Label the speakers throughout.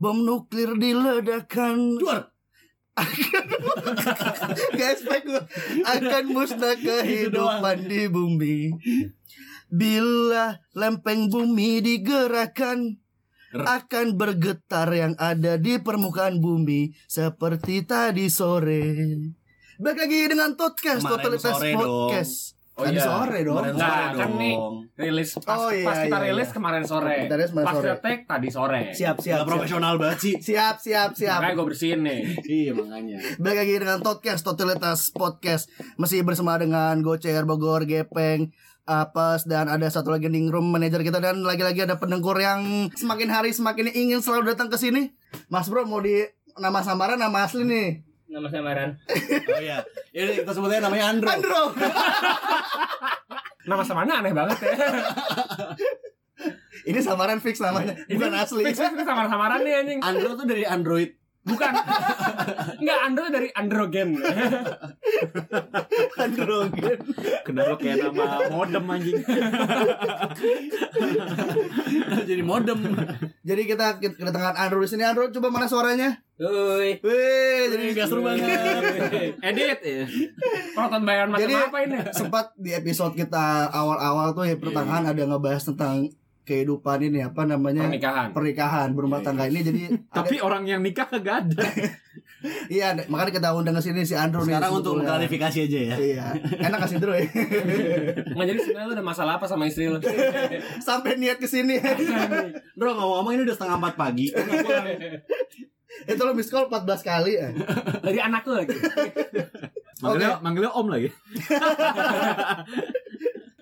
Speaker 1: bom nuklir diledakkan
Speaker 2: Keluar.
Speaker 1: Guys, baik gua. akan musnah kehidupan di bumi. Bila lempeng bumi digerakkan akan bergetar yang ada di permukaan bumi seperti tadi sore. Balik lagi dengan podcast
Speaker 2: Kemarin
Speaker 1: totalitas
Speaker 2: sore
Speaker 1: podcast.
Speaker 2: Oh
Speaker 1: Tadi
Speaker 2: iya.
Speaker 1: sore dong.
Speaker 2: Kemarin
Speaker 3: Nah,
Speaker 2: sore
Speaker 3: kan
Speaker 2: dong.
Speaker 3: nih. rilis pas,
Speaker 1: Oh, iya,
Speaker 3: pas kita
Speaker 1: iya,
Speaker 3: rilis
Speaker 1: iya.
Speaker 3: kemarin sore.
Speaker 1: Kita rilis kemarin
Speaker 3: pas
Speaker 1: sore.
Speaker 3: ngetek tadi sore.
Speaker 1: Siap siap.
Speaker 2: Nggak profesional banget sih.
Speaker 1: Siap siap siap.
Speaker 3: Makanya gue bersihin nih.
Speaker 4: Iya makanya.
Speaker 1: Balik lagi dengan podcast totalitas podcast masih bersama dengan Gocer Bogor Gepeng Apes dan ada satu lagi ningrum manajer kita dan lagi-lagi ada pendengkur yang semakin hari semakin ingin selalu datang ke sini. Mas Bro mau di nama samaran nama asli nih.
Speaker 5: nama samaran
Speaker 2: Oh iya. Ini kita sebutnya namanya Andro.
Speaker 1: Andro.
Speaker 3: Nama sama aneh banget ya.
Speaker 1: Ini samaran fix namanya, bukan asli.
Speaker 3: Fix fix sama samaran nih anjing.
Speaker 4: Andro tuh dari Android.
Speaker 3: Bukan. Enggak, Andro dari Androgen.
Speaker 1: Androgen.
Speaker 4: Kenapa kayak nama modem anjing? Jadi modem.
Speaker 1: Jadi kita ke- kedatangan Andro di sini. Andro coba mana suaranya?
Speaker 5: Uy,
Speaker 1: Wih, jadi
Speaker 4: Jadi gak seru banget.
Speaker 3: Edit ya. Proton bayaran macam
Speaker 1: Jadi-
Speaker 3: apa ini?
Speaker 1: sempat di episode kita awal-awal tuh ya pertengahan ada ngebahas tentang kehidupan ini apa namanya?
Speaker 3: Pernikahan.
Speaker 1: pernikahan berumah
Speaker 4: Iya,
Speaker 1: tangga ini jadi
Speaker 4: Tapi orang yang nikah kagak ada.
Speaker 1: ada- iya ada- makanya kita undang ke sini si Andro nih
Speaker 2: Sekarang untuk
Speaker 1: sebetulnya.
Speaker 2: klarifikasi aja ya.
Speaker 1: iya enak kasih Andro ya
Speaker 3: Nggak jadi sebenarnya lu ada masalah apa sama istri lu?
Speaker 1: sampai niat ke sini
Speaker 4: Bro ngomong-ngomong ini udah setengah empat pagi.
Speaker 1: itu lo miss call 14 kali ya
Speaker 3: Dari anak lu lagi.
Speaker 4: Manggilnya, manggilnya om lagi.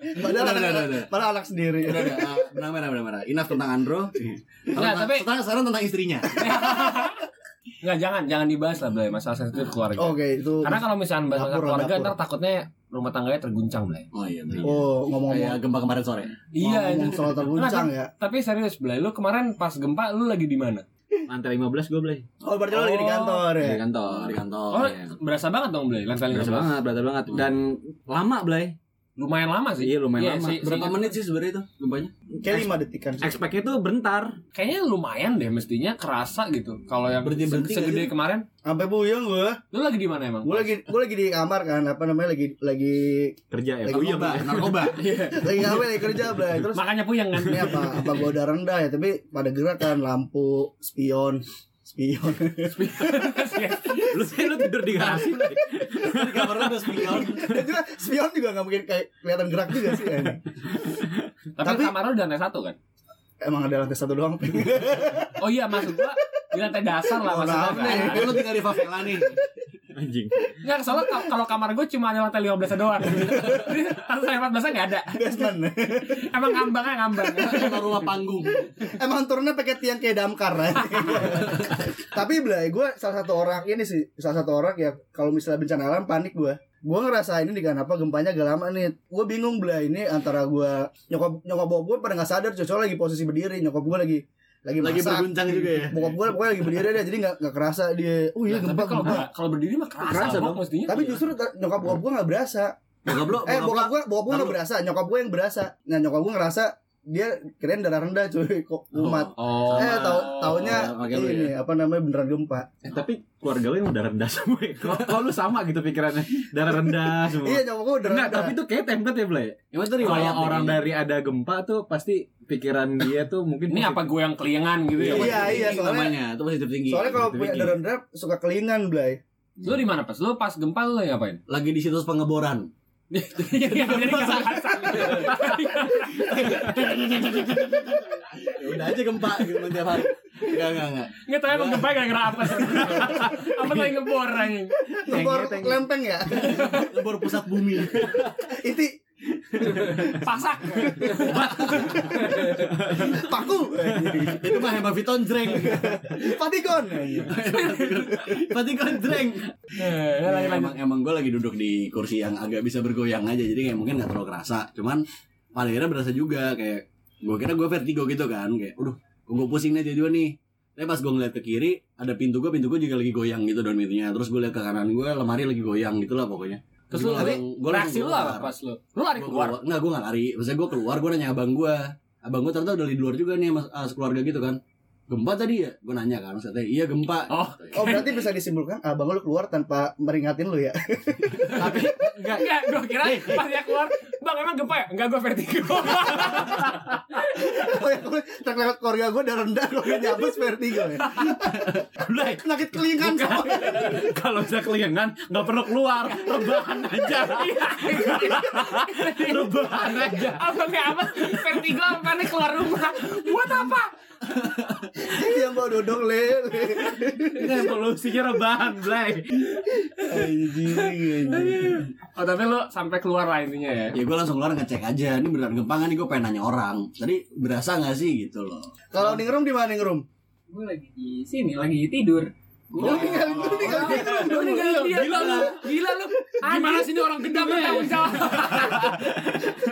Speaker 1: padahal
Speaker 4: Udah,
Speaker 1: anak,
Speaker 4: udah, udah, udah.
Speaker 1: padahal anak sendiri
Speaker 4: Udah, udah, ah, benang merah, benang merah. Enough tentang Andro.
Speaker 3: Nggak,
Speaker 4: Sekarang,
Speaker 3: tapi-
Speaker 4: sekarang, sekarang tentang istrinya.
Speaker 3: Enggak, jangan, jangan dibahas lah, Blay, masalah sensitif keluarga.
Speaker 1: oke itu
Speaker 3: Karena kalau misalnya bahas masalah
Speaker 1: Dapur,
Speaker 3: keluarga
Speaker 1: dapur.
Speaker 3: ntar takutnya rumah tangganya terguncang, Blay.
Speaker 4: Oh iya, bener.
Speaker 1: oh ngomong-ngomong
Speaker 4: Kayak gempa kemarin sore.
Speaker 3: Iya,
Speaker 1: ngomong
Speaker 3: itu.
Speaker 1: soal terguncang ya
Speaker 3: Tapi serius, Blay, lu kemarin pas gempa lu lagi di mana?
Speaker 6: Lantai 15 gue beli
Speaker 1: oh berarti lo lagi di
Speaker 3: Oh.
Speaker 1: kantor ya
Speaker 6: Di kantor
Speaker 4: Oh, di kantor.
Speaker 3: Oh,
Speaker 4: iya.
Speaker 3: berasa banget dong, Blay, lantai
Speaker 6: Berasa
Speaker 3: 15.
Speaker 6: banget, berasa banget Dan lama Blay
Speaker 3: Lumayan lama sih.
Speaker 6: Iya lumayan lama
Speaker 3: sih,
Speaker 4: Berapa
Speaker 3: sih.
Speaker 4: menit sih sebenarnya itu gempanya?
Speaker 1: kayak 5 detik kan sih.
Speaker 6: Expect-nya tuh bentar
Speaker 3: Kayaknya lumayan deh mestinya kerasa gitu. Kalau yang
Speaker 4: Berhenti-
Speaker 3: se-
Speaker 4: berhenti nggak
Speaker 3: segede
Speaker 4: sih?
Speaker 3: kemarin,
Speaker 1: sampai puyeng gue
Speaker 3: lu lagi di mana emang?
Speaker 1: gue lagi gue lagi di kamar kan apa namanya lagi lagi
Speaker 6: kerja ya
Speaker 1: Lagi
Speaker 6: Oh iya
Speaker 4: narkoba, Iya.
Speaker 6: Blay
Speaker 4: narkoba.
Speaker 1: lagi apa lagi kerja bla terus
Speaker 3: Makanya puyeng kan.
Speaker 1: ini apa apa gua udah rendah ya tapi pada gerak kan lampu spion spion
Speaker 6: Lu sih lu tidur di garasi Blay
Speaker 4: Di kamar Kan lu udah spion.
Speaker 1: Dan juga spion juga nggak mungkin kayak kelihatan gerak juga sih ya.
Speaker 3: Tapi,
Speaker 1: Tapi-
Speaker 3: kamar lu di lantai satu kan?
Speaker 1: emang ada lantai satu doang
Speaker 3: Oh iya, maksud gua di lantai dasar lah
Speaker 1: Mohon
Speaker 3: maksudnya
Speaker 1: maaf
Speaker 3: kan.
Speaker 4: Nah, lu tinggal di favela nih.
Speaker 6: Anjing
Speaker 3: Enggak, soalnya ka- kalau kamar gue cuma ada lantai 15 doang. Jadi lantai 14 enggak ada.
Speaker 1: basement
Speaker 3: Emang ngambangnya ngambang.
Speaker 4: Atau rumah panggung.
Speaker 1: emang turunnya pakai tiang kayak damkar ya. tapi belai gue salah satu orang ini sih salah satu orang ya kalau misalnya bencana alam panik gue gue ngerasa ini dengan apa gempanya agak lama nih gue bingung belai ini antara gue nyokap nyokap bokap gue pada nggak sadar cocok lagi posisi berdiri nyokap gue lagi lagi
Speaker 4: Lagi
Speaker 1: masak
Speaker 4: berguncang juga ya.
Speaker 1: bokap gue pokoknya lagi berdiri deh jadi nggak nggak kerasa dia oh iya
Speaker 3: Nah, tapi
Speaker 1: gempa
Speaker 3: kalau
Speaker 1: gempa
Speaker 3: ber- kalau berdiri mah kerasa,
Speaker 6: Kerasa
Speaker 3: Bok,
Speaker 6: dong.
Speaker 3: mestinya.
Speaker 1: tapi justru ter- nyokap bokap gue nggak berasa
Speaker 4: Bokap lu,
Speaker 1: eh bokap
Speaker 4: bokap lu.
Speaker 1: gue bokap gue nggak
Speaker 4: Lalu-
Speaker 1: berasa nyokap gue yang berasa nah nyokap gue ngerasa dia keren darah rendah cuy kok umat
Speaker 3: Oh.
Speaker 1: eh tahu taunya
Speaker 4: ya, pakai lu
Speaker 1: ini apa namanya beneran gempa
Speaker 6: Eh tapi keluarga lu yang udah rendah semua ya Kalau- Kalau lu sama gitu pikirannya Darah rendah semua
Speaker 1: iya nyokap gue darah
Speaker 6: Enggak,
Speaker 1: rendah
Speaker 6: tapi tuh kayak template ya Blay
Speaker 4: Ya betul riwayat.
Speaker 6: Kalau orang dari ada gempa tuh pasti pikiran dia tuh mungkin
Speaker 3: Ini apa gue yang kelingan gitu ya?
Speaker 1: Iya, iya, soalnya-
Speaker 4: namanya itu positif tinggi.
Speaker 1: soalnya kalau
Speaker 6: gitu,
Speaker 1: punya
Speaker 4: iya.
Speaker 6: gitu.
Speaker 1: darah rendah suka kelingan blay
Speaker 3: Lu di mana pas? Lu pas gempa lu lagi ngapain?
Speaker 4: lagi di situs pengeboran.
Speaker 1: Iya,
Speaker 3: Jadi nggak berasa.
Speaker 4: Ya udah aja gempa gitu kan tiap hari. Enggak, enggak, enggak.
Speaker 3: Nggak tahu emang gempa gara-gara apa sih? Apa lagi ngebor anjing?
Speaker 1: ngebor
Speaker 6: tenge.
Speaker 1: lempeng ya
Speaker 4: Ngebor pusat bumi.
Speaker 1: itu
Speaker 3: Pasak.
Speaker 1: paku
Speaker 4: itu mah hema Viton jreng.
Speaker 1: patikon
Speaker 4: Patikon jreng.
Speaker 3: Eh, lagi lagi.
Speaker 4: emang emang gue lagi duduk di kursi yang agak bisa bergoyang aja jadi kayak mungkin nggak terlalu kerasa cuman pada akhirnya berasa juga kayak gue kira gue vertigo gitu kan kayak aduh gue pusing nih tiba-tiba nih tapi pas gue ngeliat ke kiri ada pintu gue pintu gue juga lagi goyang gitu daun pintunya terus gue liat ke kanan gue lemari lagi goyang gitu lah pokoknya
Speaker 3: Terus lu tadi
Speaker 4: gue
Speaker 3: reaksi lu apa pas lu? Lu lari keluar.
Speaker 4: nggak gue nggak lari maksudnya gue keluar gue nanya abang gue abang gue ternyata udah di luar juga nih mas ah, eh, sekeluarga gitu kan gempa tadi ya gue nanya kan maksudnya iya gempa
Speaker 6: Oh.
Speaker 1: Oh berarti bisa disimpulkan ah, abang lu keluar tanpa meringatin lu ya?
Speaker 6: Tapi enggak
Speaker 3: Enggak, gue kira pas dia keluar, bang emang gempa ya? Enggak, gue vertigo.
Speaker 1: Oh, ya, gue terlewat keluarga gue udah rendah kalau gue nyabes vertigo ya.
Speaker 6: Blay,
Speaker 1: Sakit kelingan sama.
Speaker 6: kalau udah kelingan nggak perlu keluar, rebahan aja. rebahan aja.
Speaker 3: Abangnya Iya. apa? Vertigo apa nih keluar rumah? Buat apa?
Speaker 1: Dia mau dodong lele.
Speaker 6: Solusinya rebahan, Blay.
Speaker 1: Anjing, anjing.
Speaker 3: Oh tapi lu sampai keluar lah intinya ya.
Speaker 4: ya gue langsung keluar ngecek aja ini beneran gempa nggak nih gue pengen nanya orang tadi berasa nggak sih gitu loh
Speaker 1: Kalau ningrum di mana ningrum?
Speaker 5: Gue lagi di sini, lagi tidur.
Speaker 1: Lu ninggalin lu ninggalin ningrum.
Speaker 3: Lu ninggalin dia. Gila lu, gila lu. Gimana sih ini orang gendam bertanggung jawab?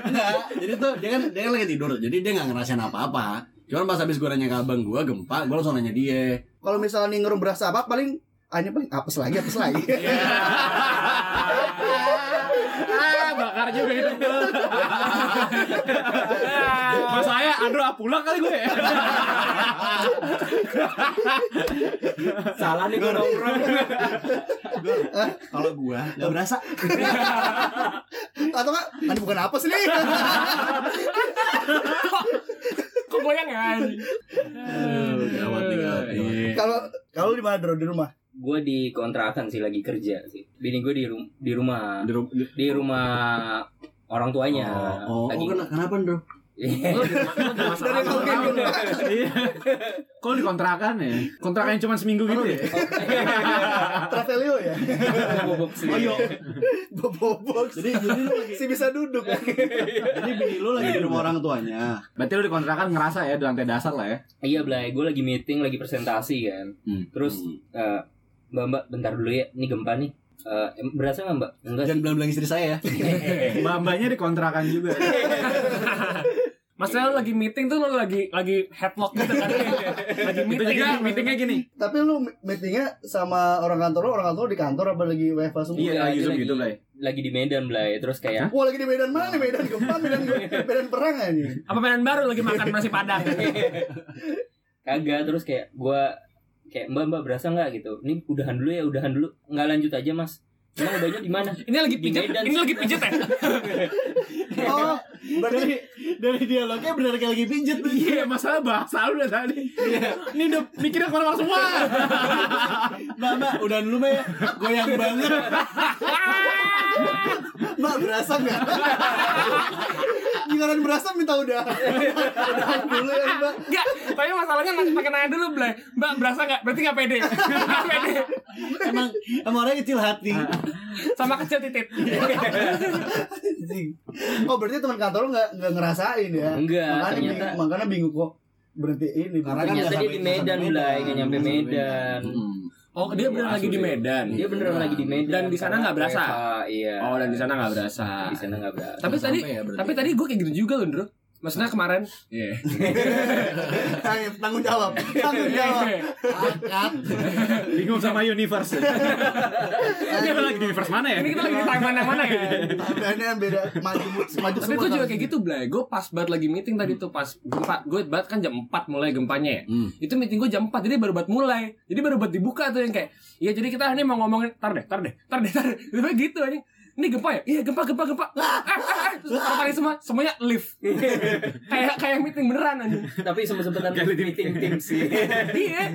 Speaker 4: Enggak, jadi tuh dia kan dia kan lagi tidur jadi dia nggak ngerasain apa-apa cuman pas habis gue nanya ke abang gue gempa gue langsung nanya dia
Speaker 1: Kalau misalnya ningrum berasa apa paling hanya paling apes lagi apes lagi.
Speaker 3: Eh,
Speaker 6: Ah, bakar juga hidup lu. Mas saya Andro pulang kali gue.
Speaker 5: Salah nih gue nongkrong.
Speaker 4: kalau gue nggak berasa
Speaker 1: Atau enggak? Ini bukan apes nih.
Speaker 3: Kok goyang ya?
Speaker 6: Eh.
Speaker 4: Aduh, gawat nih gawat nih, gawat.
Speaker 1: Kalau kalau di mana Dro? di rumah?
Speaker 5: Gue di kontrakan sih, lagi kerja sih. Bini gue di, rum- di rumah,
Speaker 4: Di ru- di-
Speaker 5: di rumah orang tuanya.
Speaker 4: oh, oh,
Speaker 5: lagi.
Speaker 4: oh, kena- kenapa bro?
Speaker 5: Iya.
Speaker 1: Dari kalau kayak gini.
Speaker 6: Iya. Kok di kontrakan ya? Kontrakan yang cuma seminggu
Speaker 4: Oh,
Speaker 6: gitu ya?
Speaker 4: iya.
Speaker 1: Travelio ya. Oh, iya.
Speaker 5: Bobok sih.
Speaker 1: Bobok.
Speaker 4: Jadi jadi lu lagi
Speaker 1: Si bisa duduk.
Speaker 4: jadi bini lu lagi di rumah orang tuanya.
Speaker 6: Berarti lu di kontrakan ngerasa ya di lantai dasar lah ya?
Speaker 5: Iya, Blay. Gue lagi meeting, lagi presentasi kan. Terus, eh, Mbak, mbak, bentar dulu ya. Ini gempa nih. Eh, em- berasa nggak mbak? Enggak sih.
Speaker 4: jangan bilang-bilang istri saya ya.
Speaker 6: Mbak-mbaknya di kontrakan juga.
Speaker 3: Iya, Maksudnya lu lagi meeting tuh lu lagi lagi headlock gitu
Speaker 6: Iya,
Speaker 3: kan. Lagi
Speaker 6: Itu
Speaker 3: meeting.
Speaker 6: juga meetingnya gini.
Speaker 1: Tapi lu meetingnya sama orang kantor lu, orang kantor lu di kantor apa lagi WFH semua?
Speaker 5: Iya,
Speaker 6: Iya, lagi
Speaker 5: itu
Speaker 6: zoom
Speaker 5: lagi.
Speaker 6: gitu, Blay.
Speaker 5: Lagi di Medan, Blay. Terus kayak
Speaker 1: Wah lagi di Medan mana? Medan gempa, Medan Medan perang aja.
Speaker 3: Apa mainan baru lagi makan nasi padang?
Speaker 5: kagak terus kayak gua kayak mbak mbak berasa nggak gitu ini udahan dulu ya udahan dulu nggak lanjut aja mas emang udahnya di mana
Speaker 3: Ini lagi
Speaker 5: Di
Speaker 3: pijet,
Speaker 5: Medan.
Speaker 3: ini lagi pijet ya?
Speaker 1: Oh, berarti
Speaker 4: Dari dialognya benar kayak lagi pijet
Speaker 6: Iya, masalah bahasa lu udah tadi.
Speaker 3: Iya.
Speaker 6: Ini udah mikirnya kemana-mana semua.
Speaker 4: Mbak, mbak, udah dulu mbak ya. Goyang banget.
Speaker 1: Mbak berasa nggak? Giliran berasa minta udah. Udahan dulu ya Mbak.
Speaker 3: Enggak, tapi masalahnya masih pakai nanya dulu, Blay. Mbak, berasa nggak? Berarti nggak pede. Nggak pede.
Speaker 4: Emang emang orangnya kecil hati.
Speaker 3: Sama kecil titit.
Speaker 1: Anjing. Oh berarti teman kantor lu nggak nggak ngerasain ya?
Speaker 5: Enggak,
Speaker 1: makanya
Speaker 5: Iya, ternyata.
Speaker 1: bing- makanya bingung kok berhenti ini.
Speaker 4: Karena kan
Speaker 5: ternyata
Speaker 4: nggak
Speaker 5: dia
Speaker 4: sampai-
Speaker 5: di
Speaker 4: nggak
Speaker 5: Medan
Speaker 4: sampai
Speaker 5: Blay nggak nyampe
Speaker 4: Nggak sampai
Speaker 5: Medan
Speaker 4: Mm.
Speaker 3: Oh, dia beneran lagi di Medan.
Speaker 6: Iya.
Speaker 5: dia beneran lagi di
Speaker 3: Dan
Speaker 5: Medan
Speaker 3: di sana
Speaker 5: karena
Speaker 3: nggak berasa?
Speaker 5: WFH, iya
Speaker 3: Oh, dan di sana nggak berasa.
Speaker 5: di sana nggak berasa
Speaker 3: Tapi tadi
Speaker 4: Sampai ya, berarti.
Speaker 3: tapi tadi gue kayak gitu juga loh, Bro. Maksudnya kemarin
Speaker 6: Iya.
Speaker 1: Ayo, tanggung jawab, tanggung
Speaker 3: Iya,
Speaker 1: jawab.
Speaker 6: Bingung sama universe. Ini lu lagi di universe mana ya?
Speaker 3: ini kita lagi di time mana-mana ya.
Speaker 1: Tandanya beda maju maju
Speaker 3: Tapi
Speaker 1: semua.
Speaker 3: gue juga kayak gitu, Blay. Gue pas banget lagi meeting tadi tuh pas gempa. Gue banget kan jam 4 mulai gempanya ya.
Speaker 4: Hmm.
Speaker 3: Itu meeting gue jam 4 jadi baru buat mulai. Jadi baru buat dibuka tuh yang kayak, "Iya, jadi kita ini mau ngomongin tar deh, tar deh, tar deh, tar deh." Tiba-tiba gitu aja. Ini gempa ya? Iya gempa gempa gempa. Ah, ah, ah. Terus orang-orang semua semuanya lift. kayak kayak meeting beneran anjing.
Speaker 5: tapi sempet sempetan meeting tim sih
Speaker 3: iya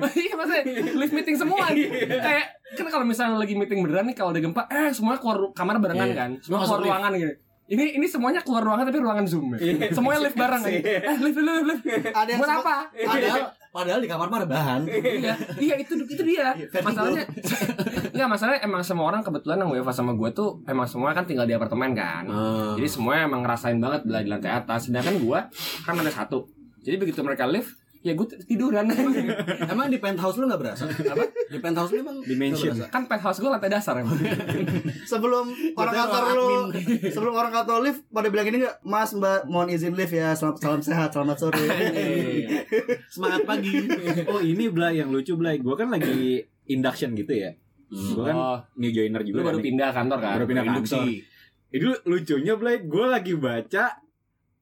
Speaker 3: iya maksudnya live meeting semua
Speaker 4: Iya.
Speaker 3: kayak kan kalau misalnya lagi meeting beneran nih kalau ada gempa eh semua keluar ru- kamar barengan
Speaker 4: Iya.
Speaker 3: kan semua
Speaker 4: Masuk
Speaker 3: keluar
Speaker 4: lift. Iya.
Speaker 3: ruangan gitu ini ini semuanya keluar ruangan tapi ruangan zoom ya. semuanya live bareng kan. eh live live live live
Speaker 1: Ada yang
Speaker 3: buat
Speaker 1: sempat-
Speaker 3: apa
Speaker 4: Padahal padahal di kamar mah ada bahan. Ah.
Speaker 3: iya iya itu itu dia masalahnya nggak masalahnya emang semua orang kebetulan yang WFA sama gue tuh emang semua kan tinggal di apartemen kan
Speaker 4: Oh.
Speaker 3: jadi semua emang ngerasain banget bela di lantai atas sedangkan gue kan ada satu jadi begitu mereka live ya gue tiduran
Speaker 4: Emang di penthouse lu nggak berasa? Apa? Di penthouse lu emang
Speaker 6: Di mansion.
Speaker 4: nggak berasa?
Speaker 3: kan penthouse gue lantai dasar emang
Speaker 1: sebelum orang kantor lu sebelum orang kantor lift pada bilang gini nggak mas mbak mohon izin lift ya salam, salam sehat selamat sore
Speaker 6: Iya.
Speaker 4: Semangat pagi.
Speaker 6: Oh ini Blay yang lucu Blay. Gue kan lagi induction gitu ya. Gue kan
Speaker 3: Oh,
Speaker 6: new joiner
Speaker 3: lu
Speaker 6: juga.
Speaker 3: baru
Speaker 6: kan nih.
Speaker 3: pindah kantor kan?
Speaker 6: Baru pindah kantor. Itu lucunya Blay, gue lagi baca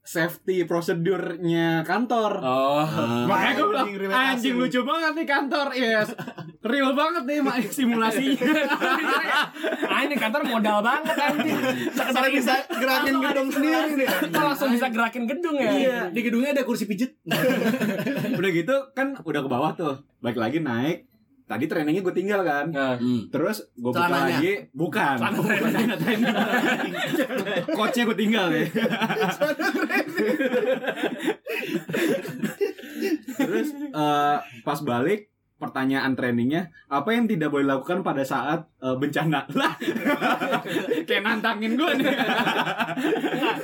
Speaker 6: safety prosedurnya kantor.
Speaker 3: Oh.
Speaker 6: Makanya gue bilang
Speaker 1: Anjing, relatasi
Speaker 6: anjing
Speaker 1: lu."
Speaker 6: lucu banget nih kantor yes real banget nih mak simulasinya
Speaker 3: ah ini kantor modal banget anjing.
Speaker 1: Sekarang bisa gerakin gedung sendiri nih.
Speaker 3: Kita langsung bisa gerakin gedung ya.
Speaker 6: Iya.
Speaker 4: Di gedungnya ada kursi pijet.
Speaker 6: udah gitu kan udah ke bawah tuh balik lagi naik tadi trainingnya gue tinggal kan
Speaker 3: Nah,
Speaker 4: Hmm.
Speaker 6: terus gue buka
Speaker 1: Celananya.
Speaker 6: lagi bukan bukan celana training coachnya gue tinggal ya terus eh, pas balik pertanyaan trainingnya apa yang tidak boleh dilakukan pada saat eh, bencana lah kayak nantangin gue nih
Speaker 3: Nah,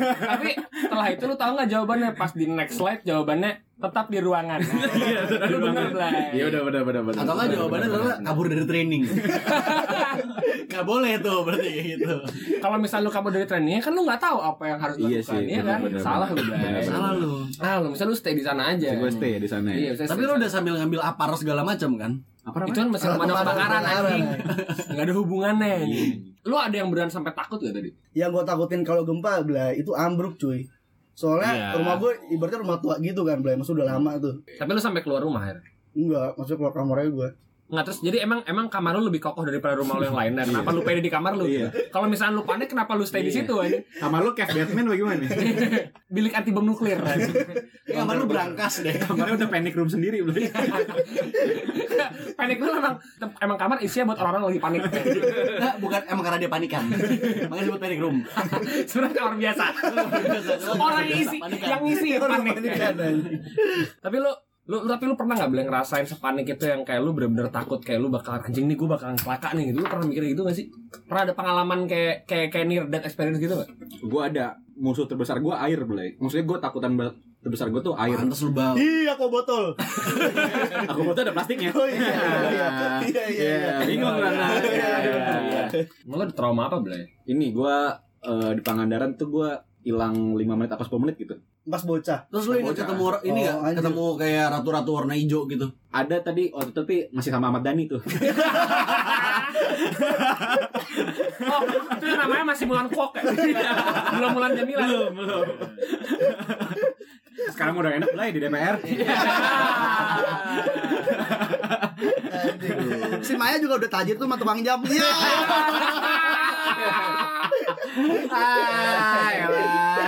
Speaker 3: tapi setelah itu lu tahu nggak jawabannya pas di next slide jawabannya tetap di ruangan.
Speaker 6: Iya, tetap di
Speaker 3: Lu bener,
Speaker 6: ruangan.
Speaker 3: Blay.
Speaker 6: ya udah benar benar benar
Speaker 4: Atau nggak
Speaker 6: Benar,
Speaker 4: jawabannya
Speaker 6: benar,
Speaker 4: adalah
Speaker 6: benar.
Speaker 4: kabur dari training. Gak boleh tuh berarti kayak gitu.
Speaker 3: Kalau misal lu kabur dari trainingnya kan lu nggak tahu apa yang harus
Speaker 6: Iya
Speaker 3: dilakukan
Speaker 6: sih,
Speaker 3: ya kan?
Speaker 6: bener-bener.
Speaker 3: Salah lu,
Speaker 6: Bener-bener.
Speaker 3: Blay.
Speaker 4: Salah lu.
Speaker 3: Ah, lu misal lu stay di sana aja.
Speaker 6: gue stay ya di sana
Speaker 3: Iya,
Speaker 6: ya.
Speaker 3: misalnya
Speaker 4: Tapi
Speaker 3: stay
Speaker 4: lu
Speaker 3: di
Speaker 4: udah sambil ngambil apar segala macam kan?
Speaker 6: Apa
Speaker 3: sana. itu
Speaker 6: namanya?
Speaker 3: kan masih pemadam kebakaran anjing. Enggak ada hubungannya anjing. Lu ada yang beneran sampai takut gak tadi?
Speaker 1: Yang gue Ya, takutin kalau gempa Blay itu ambruk cuy. Soalnya
Speaker 2: Iya.
Speaker 1: rumah gue ibaratnya rumah tua gitu kan Blay. Maksudnya udah lama tuh.
Speaker 3: Tapi lu sampai keluar rumah akhirnya?
Speaker 1: Enggak, maksudnya keluar kamarnya gue.
Speaker 3: Nggak terus jadi emang emang kamar lu lebih kokoh daripada rumah lu yang lain dan kenapa lu pede di kamar lu?
Speaker 6: Iya.
Speaker 3: Kalau misalnya lu panik kenapa lu stay di situ anjing?
Speaker 6: Sama lu Kev Batman bagaimana?
Speaker 3: Bilik anti bom nuklir. anjing.
Speaker 4: Ya, kamar lu berangkas deh.
Speaker 6: Kamarnya udah panic room sendiri belum?
Speaker 3: panik lu emang emang kamar isinya buat orang-orang lagi panik.
Speaker 4: Nah, bukan emang karena dia panikan. Makanya disebut panic room.
Speaker 3: Sebenarnya kamar biasa. orang yang isi yang isi panik. tapi lu lu lu- tapi lu pernah nggak boleh ngerasain sepanik itu yang kayak lu bener-bener takut kayak lu bakal anjing nih gue bakalan celaka nih gitu lu pernah mikir gitu gak sih pernah ada pengalaman kayak kayak kayak near death experience gitu gak?
Speaker 6: gue ada musuh terbesar gue air belai. Maksudnya gue takutan ba- terbesar gue tuh air.
Speaker 4: Pantes lu bau.
Speaker 1: Iya kok botol.
Speaker 6: Aku mau tuh ada plastiknya.
Speaker 1: Oh iya. Iya iya. iya, iya.
Speaker 6: Iya, bingung kan? Nah, iya, iya.
Speaker 3: Emang lu ada trauma apa belai?
Speaker 6: Ini gue di Pangandaran tuh gue hilang 5 menit apa 10 menit gitu.
Speaker 1: iya. Pas bocah.
Speaker 4: Terus lu ingat ketemu orang ini nggak?
Speaker 1: Oh, anjir.
Speaker 4: ketemu kayak ratu-ratu warna hijau gitu.
Speaker 6: Ada tadi waktu itu tapi masih sama Ahmad Dhani tuh.
Speaker 3: Oh itu yang namanya masih Mulan Kok ya? belum Mulan Jamila
Speaker 6: belum. Sekarang udah enak belai di DPR.
Speaker 1: Anjing. Si Maya juga udah tajir tuh sama tukang jam. Iya.
Speaker 6: Ah,
Speaker 3: ya
Speaker 6: elah.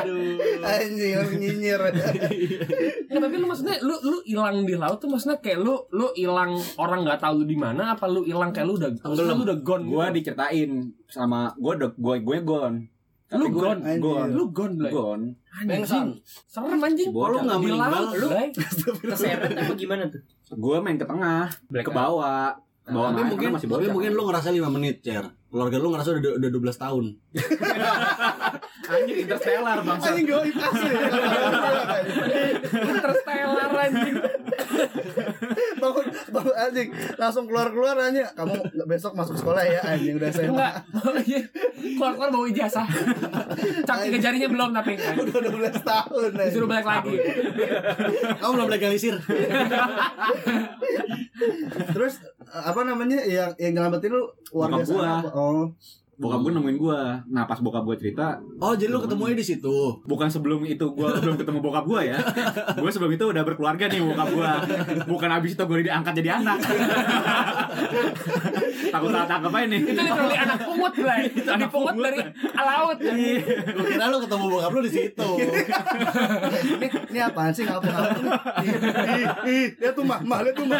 Speaker 1: Anjing langsung nyinyir.
Speaker 3: Nggak, tapi lu maksudnya lu lu hilang di laut tuh maksudnya kayak lu lu hilang orang nggak tahu lu di mana apa lu hilang kayak lu udah
Speaker 6: Tenggelam.
Speaker 3: lu udah gone
Speaker 6: gue
Speaker 4: gitu.
Speaker 6: diceritain sama gue udah gue gue gone
Speaker 3: Lu
Speaker 6: Tapi gua-
Speaker 3: gone?
Speaker 6: gone
Speaker 3: lu gone belai
Speaker 6: gone
Speaker 3: anjing serem anjing
Speaker 6: Si bocah.
Speaker 4: Lu nggak
Speaker 3: di
Speaker 4: menimbal,
Speaker 3: laut
Speaker 4: lu-
Speaker 3: Blay.
Speaker 5: Keseret apa gimana tuh?
Speaker 6: gue main ke tengah ke bawah ke bawah
Speaker 4: Nah, Tapi
Speaker 6: naik,
Speaker 4: mungkin
Speaker 6: karena masih bocah
Speaker 4: tapi mungkin lu ngerasa 5 menit, Cer. Keluarga lu ngerasa udah, udah 12 tahun.
Speaker 6: anjing interstellar bangsa
Speaker 1: Anjing gue asli.
Speaker 3: Interstellar anjing
Speaker 1: bangun bangun anjing langsung keluar keluar nanya kamu besok masuk sekolah ya anjing udah saya
Speaker 3: Enggak Oh, iya. Keluar-keluar bawa ijazah Cap tiga jarinya belum tapi
Speaker 1: udah 12 tahun anjing.
Speaker 3: Disuruh balik lagi
Speaker 4: Kamu belum legalisir.
Speaker 1: terus apa namanya yang yang nyelamatin lu warga
Speaker 6: Bokap gua.
Speaker 1: sana apa? oh
Speaker 6: bokap gue nemuin gue nah pas bokap gue cerita
Speaker 4: Oh, jadi lu ketemunya di situ.
Speaker 6: bukan sebelum itu gue belum ketemu bokap gue ya gue sebelum itu udah berkeluarga nih bokap gue bukan abis itu gue diangkat jadi anak takut salah tangkap aja nih
Speaker 3: Itu literally anak pungut Blay Anak pungut dari laut anjing.
Speaker 4: Gua kira lu ketemu bokap lu di situ.
Speaker 1: ini ini apaan sih ngapa ngapa dia tuh mah mah dia tuh mah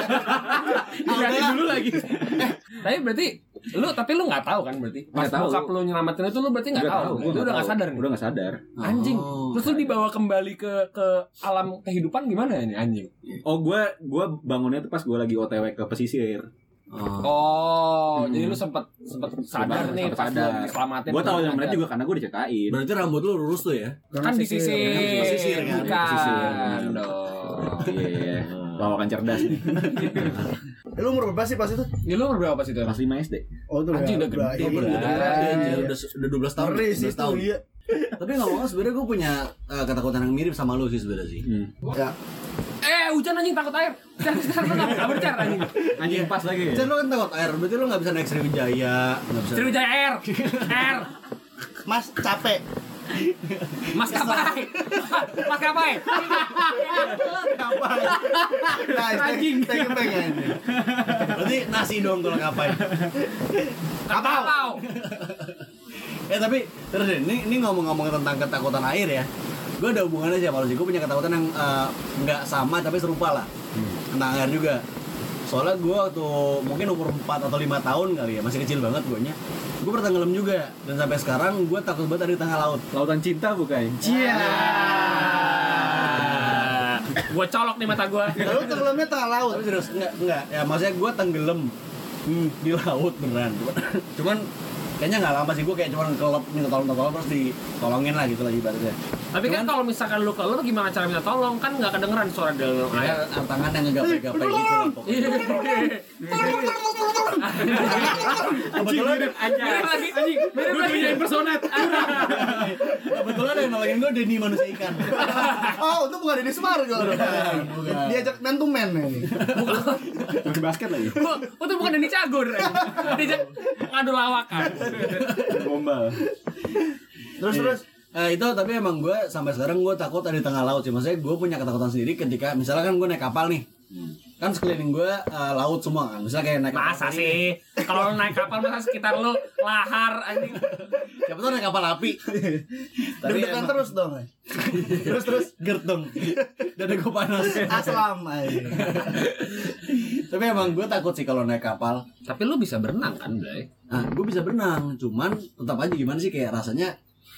Speaker 4: Ah,
Speaker 6: Berarti dulu lagi
Speaker 3: Tapi berarti Lu tapi lu gak tahu kan berarti Pas
Speaker 6: Nggak tahu.
Speaker 3: bokap lu nyelamatin itu lu berarti gak
Speaker 6: Nggak
Speaker 3: tahu
Speaker 6: gua
Speaker 3: Lu udah
Speaker 6: nggak
Speaker 3: gak
Speaker 6: tahu.
Speaker 3: sadar nih
Speaker 6: udah gak sadar
Speaker 3: Anjing
Speaker 4: Oh.
Speaker 3: Terus lu dibawa kembali ke ke alam kehidupan gimana ini anjing
Speaker 6: Oh gue gue bangunnya tuh pas gue lagi OTW ke pesisir.
Speaker 4: Oh.
Speaker 3: Oh
Speaker 6: Hmm.
Speaker 3: jadi lu sempet sempet sadar
Speaker 6: Sempet
Speaker 3: nih pas lu
Speaker 6: sadar.
Speaker 3: diselamatin
Speaker 6: Gue tahu yang
Speaker 3: Sadar.
Speaker 6: mana juga karena gue diceritain.
Speaker 4: Berarti rambut lu lurus tuh ya?
Speaker 3: Kan di sisi
Speaker 4: Pesisir kan?
Speaker 6: Pesisir.
Speaker 3: Bukan dong
Speaker 6: Iya, iya. bawakan cerdas nih.
Speaker 1: Eh, lu umur berapa sih pas itu
Speaker 3: Ya lu umur berapa pas itu?
Speaker 6: Kelas 5 SD.
Speaker 1: oh itu
Speaker 3: Anjing, udah
Speaker 1: udah-
Speaker 3: gede,
Speaker 1: iya,
Speaker 3: Bray.
Speaker 1: udah-
Speaker 4: Iya,
Speaker 1: iya.
Speaker 4: udah udah 12 tahun.
Speaker 1: Ngeri sih
Speaker 4: 12
Speaker 1: itu
Speaker 4: tahun.
Speaker 1: iya
Speaker 4: Tapi nggak mau sebenarnya gue punya eh, ketakutan yang mirip sama lu sih sebenarnya sih.
Speaker 6: Hmm.
Speaker 1: ya
Speaker 3: Eh hujan anjing takut air Cer cer tenang Gak bercer anjing
Speaker 6: Anjing pas lagi.
Speaker 4: Cer lu kan takut air, berarti lu nggak bisa naik Sriwijaya, nggak bisa.
Speaker 3: Sriwijaya air Air
Speaker 1: mas capek
Speaker 3: Mas kapai. Mas kapai.
Speaker 1: Nice, thank
Speaker 6: Anjing.
Speaker 1: thank you, thank you.
Speaker 4: Berarti nasi dong kalau ngapain.
Speaker 3: Kapau.
Speaker 4: Ya tapi terus deh, ini, ini ngomong-ngomong tentang ketakutan air ya. Gue ada hubungannya sih kalau sih gue punya ketakutan yang eh, nggak sama tapi serupa lah. Tentang air juga. Soalnya gue waktu mungkin umur 4 atau 5 tahun kali ya, masih kecil banget gue nya. Gue pernah tenggelam juga dan sampai sekarang gue takut banget ada di tengah laut.
Speaker 6: Lautan cinta bukan?
Speaker 3: Gue colok nih mata gue.
Speaker 4: Nah,
Speaker 1: Lalu tenggelamnya tengah laut.
Speaker 4: Ah. Tapi serius enggak enggak ya maksudnya gue tenggelam Hmm, di laut beneran. Cuman, cuman kayaknya nggak lama sih gue kayak cuman kelop minta tolong minta tolong terus ditolongin lah gitu lah ibaratnya.
Speaker 3: Tapi kan kalau misalkan lu kalau gimana cara minta tolong kan nggak kedengeran suara dalam
Speaker 4: Ada
Speaker 3: air.
Speaker 4: tangan yang ngegapai-gapai gitu lah pokoknya.
Speaker 3: Iya.
Speaker 6: Kebetulan aja.
Speaker 3: Mirip lagi, mirip
Speaker 6: Gue
Speaker 3: lagi.
Speaker 6: jadi personet.
Speaker 4: Kebetulan yang nolongin gue Denny manusia ikan.
Speaker 1: Oh, itu bukan Denny Sumargo. dong.
Speaker 4: bukan.
Speaker 1: Diajak man to man ini.
Speaker 6: Masih basket lagi.
Speaker 3: Bu- Itu bukan Denny Cagur. Denny Cagur ngadu lawakan.
Speaker 6: Gombal.
Speaker 1: Terus terus
Speaker 4: Eh, itu tapi emang gue sampai sekarang gue takut ada di tengah laut sih. Maksudnya gue punya ketakutan sendiri ketika misalnya kan gue naik kapal nih. Kan sekeliling gue eh, laut semua kan. Misalnya kayak naik kapal.
Speaker 3: Masa
Speaker 4: ini,
Speaker 3: sih? Kalau lu naik kapal masa sekitar lu lahar anjing.
Speaker 4: Siapa tahu naik kapal api. tapi
Speaker 1: deg-degan
Speaker 4: emang,
Speaker 1: terus dong. eh.
Speaker 4: terus terus gertung. Dada gue panas.
Speaker 1: Aslam eh. aja.
Speaker 4: tapi emang gue takut sih kalau naik kapal.
Speaker 3: Tapi lu bisa berenang kan, Bray?
Speaker 4: Nah, gue bisa berenang, cuman tetap aja gimana sih kayak rasanya